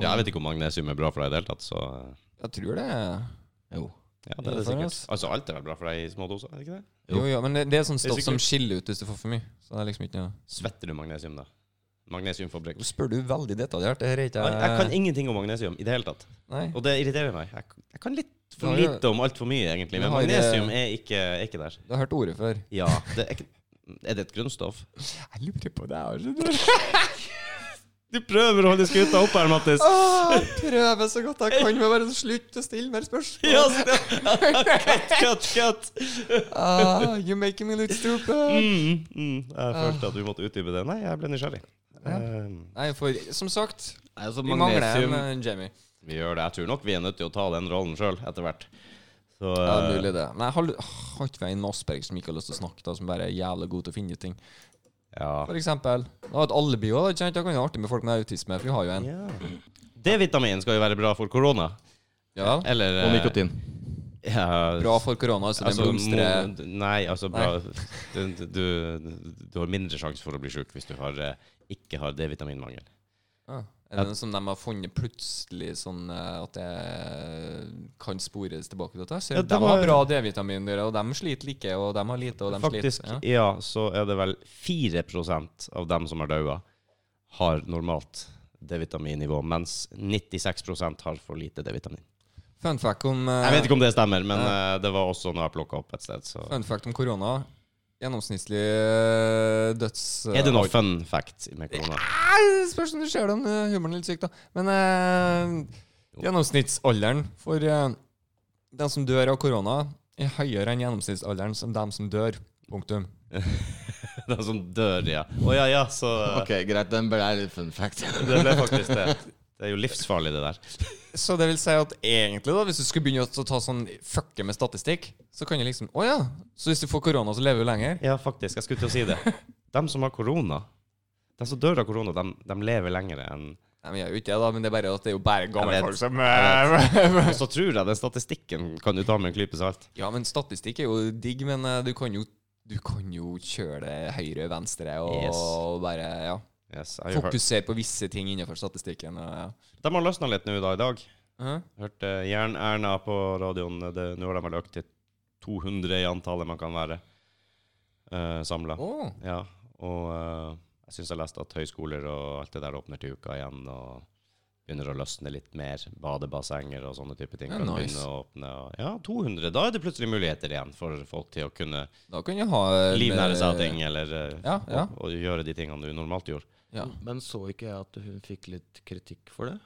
[SPEAKER 1] Ja, jeg vet ikke om magnesium er bra for deg i det hele tatt, så
[SPEAKER 3] jeg tror det.
[SPEAKER 2] Jo.
[SPEAKER 1] ja, det er det
[SPEAKER 3] Innenfor,
[SPEAKER 1] sikkert.
[SPEAKER 3] ass.
[SPEAKER 1] Altså, alt er vel bra for deg i små doser, er det ikke det?
[SPEAKER 2] Jo.
[SPEAKER 3] Jo, ja, men det, det er sånn
[SPEAKER 1] Det er
[SPEAKER 3] stoff som skiller ut hvis du får for mye. Så det er liksom ikke noe
[SPEAKER 1] Svetter du magnesium, da? Magnesiumforbruk.
[SPEAKER 3] Nå spør du veldig detaljert. Det her er ikke
[SPEAKER 1] Nei, jeg kan ingenting om magnesium i det hele tatt,
[SPEAKER 3] Nei.
[SPEAKER 1] og det irriterer meg. Jeg, jeg kan litt for
[SPEAKER 3] Har du-
[SPEAKER 1] lite om altfor mye, egentlig, men
[SPEAKER 3] Har du-
[SPEAKER 1] magnesium er ikke, er ikke der.
[SPEAKER 3] Du har hørt ordet før.
[SPEAKER 1] Ja, det er, ikke, er det et grunnstoff?
[SPEAKER 3] Jeg lurer på det, jeg.
[SPEAKER 1] Du prøver å holde skuta oppe her, Mattis.
[SPEAKER 3] Jeg prøver så godt jeg kan med bare slutt å stille mer spørsmål.
[SPEAKER 1] Ja, så Cut, cut!
[SPEAKER 3] Ah, you're making me look stupid.
[SPEAKER 1] Mm, mm. Jeg følte at du måtte utdype det. Nei, jeg ble nysgjerrig.
[SPEAKER 3] Ja.
[SPEAKER 1] Eh,
[SPEAKER 3] Nei, for som sagt,
[SPEAKER 2] Nei, altså,
[SPEAKER 3] vi mangler
[SPEAKER 2] magnesium-
[SPEAKER 3] en eh, Jamie.
[SPEAKER 1] vi gjør det. Jeg tror nok vi er nødt til å ta den rollen sjøl etter hvert. Så
[SPEAKER 3] Ja,
[SPEAKER 1] eh,
[SPEAKER 3] mulig det. Nei, har, du- har ikke vi en med Asperger som ikke har lyst til å snakke, da, som bare er jævlig god til å finne ut ting?
[SPEAKER 1] ja.
[SPEAKER 3] For eksempel. Da har et alibi òg, ikke sant? Da kan det være artig med folk med autisme, for vi har jo en.
[SPEAKER 1] Ja. D-vitamin skal jo være bra for korona.
[SPEAKER 3] Ja, vel?
[SPEAKER 1] Eller
[SPEAKER 2] Og
[SPEAKER 1] eh,
[SPEAKER 2] nikotin.
[SPEAKER 1] Ja,
[SPEAKER 3] Bra for korona, altså. Den
[SPEAKER 1] altså,
[SPEAKER 3] blomstrer
[SPEAKER 1] mo- Nei, altså bra du, du, du har mindre sjanse for å bli sjuk hvis du har, eh, ikke har D-vitaminmangel.
[SPEAKER 3] Ah, Er det den som de har funnet plutselig, sånn eh, at det kan spores tilbake til oss?
[SPEAKER 1] Ja,
[SPEAKER 3] de
[SPEAKER 1] det
[SPEAKER 3] har
[SPEAKER 1] var-
[SPEAKER 3] bra D-vitamin, dere, og de sliter like, og de har lite, og de
[SPEAKER 1] Faktisk,
[SPEAKER 3] sliter. Ja.
[SPEAKER 1] ja, så er det vel 4 av dem som har daua, har normalt D-vitaminnivå, mens 96 har for lite D-vitamin.
[SPEAKER 3] Fun fact om eh,
[SPEAKER 1] Jeg vet ikke om det stemmer, men eh, det var også noe jeg plukka opp et sted. Så.
[SPEAKER 3] eh, Fun fact om korona. Gjennomsnittlig eh, døds...
[SPEAKER 1] Er det noe fun fact med korona?
[SPEAKER 3] Nei, spørs om du ser den eh, humoren er litt syk, da. Men eh, gjennomsnittsalderen for eh, dem som dør av korona, er høyere enn gjennomsnittsalderen som dem som dør. Punktum.
[SPEAKER 1] Den som sånn dør, ja. Å ja, ja, så eh,
[SPEAKER 2] Ok, greit. Den ble litt fun fact.
[SPEAKER 1] Det ble faktisk det. Det er jo livsfarlig, det der.
[SPEAKER 3] Så det vil si at egentlig, da, hvis du skulle begynne å ta sånn fucke med statistikk, så kan du liksom Å ja! Så hvis du får korona, så lever du lenger?
[SPEAKER 1] Ja, faktisk. Jeg skulle til å si det. De som har korona, de som dør av korona, de, de lever lenger enn
[SPEAKER 3] Nei, men jeg gjør jo ikke det, da, men det er bare at det er jo bare gamle
[SPEAKER 1] Jeg vet.
[SPEAKER 3] folk som eh,
[SPEAKER 1] Og så tror jeg den statistikken kan du ta med en klype salt.
[SPEAKER 3] Ja, men statistikk er jo digg, men eh, du kan jo du kan jo kjøre det høyre, venstre og
[SPEAKER 1] Yes.
[SPEAKER 3] bare ja,
[SPEAKER 1] Yes, jeg har hørt-
[SPEAKER 3] fokusere på visse ting innenfor statistikken. Og, ja.
[SPEAKER 1] De har løsna litt nå da, i dag.
[SPEAKER 3] Mhm.
[SPEAKER 1] Hørte Jern-Erna på radioen. eh, Det- Nå har de vel økt til 200 i antallet man kan være uh, samla.
[SPEAKER 3] Åh.
[SPEAKER 1] Ja, og eh, jeg syns jeg leste at høyskoler og alt det der åpner til uka igjen. og Begynner å løsne litt mer. Badebassenger og sånne type ting.
[SPEAKER 3] Ja,
[SPEAKER 1] kan
[SPEAKER 3] nice.
[SPEAKER 1] begynne å åpne. og- Ja, 200. Da er det plutselig muligheter igjen for folk til å kunne
[SPEAKER 3] Da kan du ha en,
[SPEAKER 1] livnære seg av
[SPEAKER 3] eh,
[SPEAKER 1] ting, eller eh,
[SPEAKER 3] Ja, ja.
[SPEAKER 1] Og, og gjøre de tingene du normalt gjorde.
[SPEAKER 3] ja.
[SPEAKER 2] Men så ikke jeg at hun fikk litt kritikk for det?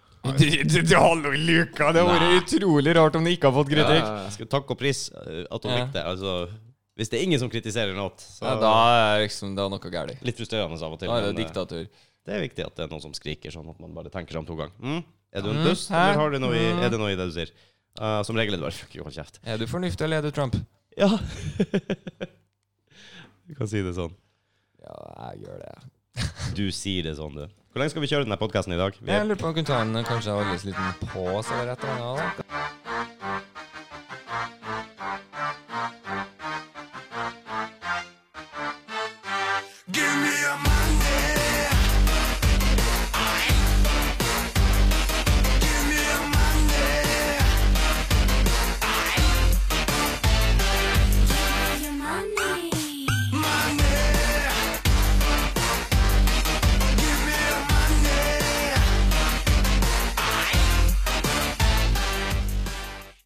[SPEAKER 3] Hallo, Luka! Det hadde vært utrolig rart om du ikke har fått kritikk.
[SPEAKER 2] Ja,
[SPEAKER 1] Jeg skal takke og pris eh, at hun
[SPEAKER 3] Ja.
[SPEAKER 1] fikk det. Altså, hvis det er ingen som kritiserer noe, så
[SPEAKER 3] Ja, da er liksom, det er noe galt.
[SPEAKER 1] Litt frustrerende av og til.
[SPEAKER 3] Da er det
[SPEAKER 1] men, eh,
[SPEAKER 3] diktatur.
[SPEAKER 1] det er viktig at det er noen som skriker, sånn at man bare tenker seg om to ganger. Mm? Er du en
[SPEAKER 3] Mm,
[SPEAKER 1] dust,
[SPEAKER 3] hæ?
[SPEAKER 1] eller har du noe i,
[SPEAKER 3] Mm.
[SPEAKER 1] er det noe i det du sier? Eh, som regel er det bare fuck, hold kjeft.
[SPEAKER 3] Er du fornuftig, eller er du Trump?
[SPEAKER 1] Ja. du kan si det sånn.
[SPEAKER 3] Ja, jeg gjør det.
[SPEAKER 1] Du sier det sånn, du. Hvor lenge skal vi kjøre denne podkasten i dag? Vi
[SPEAKER 3] Jeg
[SPEAKER 1] er,
[SPEAKER 3] lurer på om vi kunne ta en eh, kanskje alles liten pause eller et eller annet. da.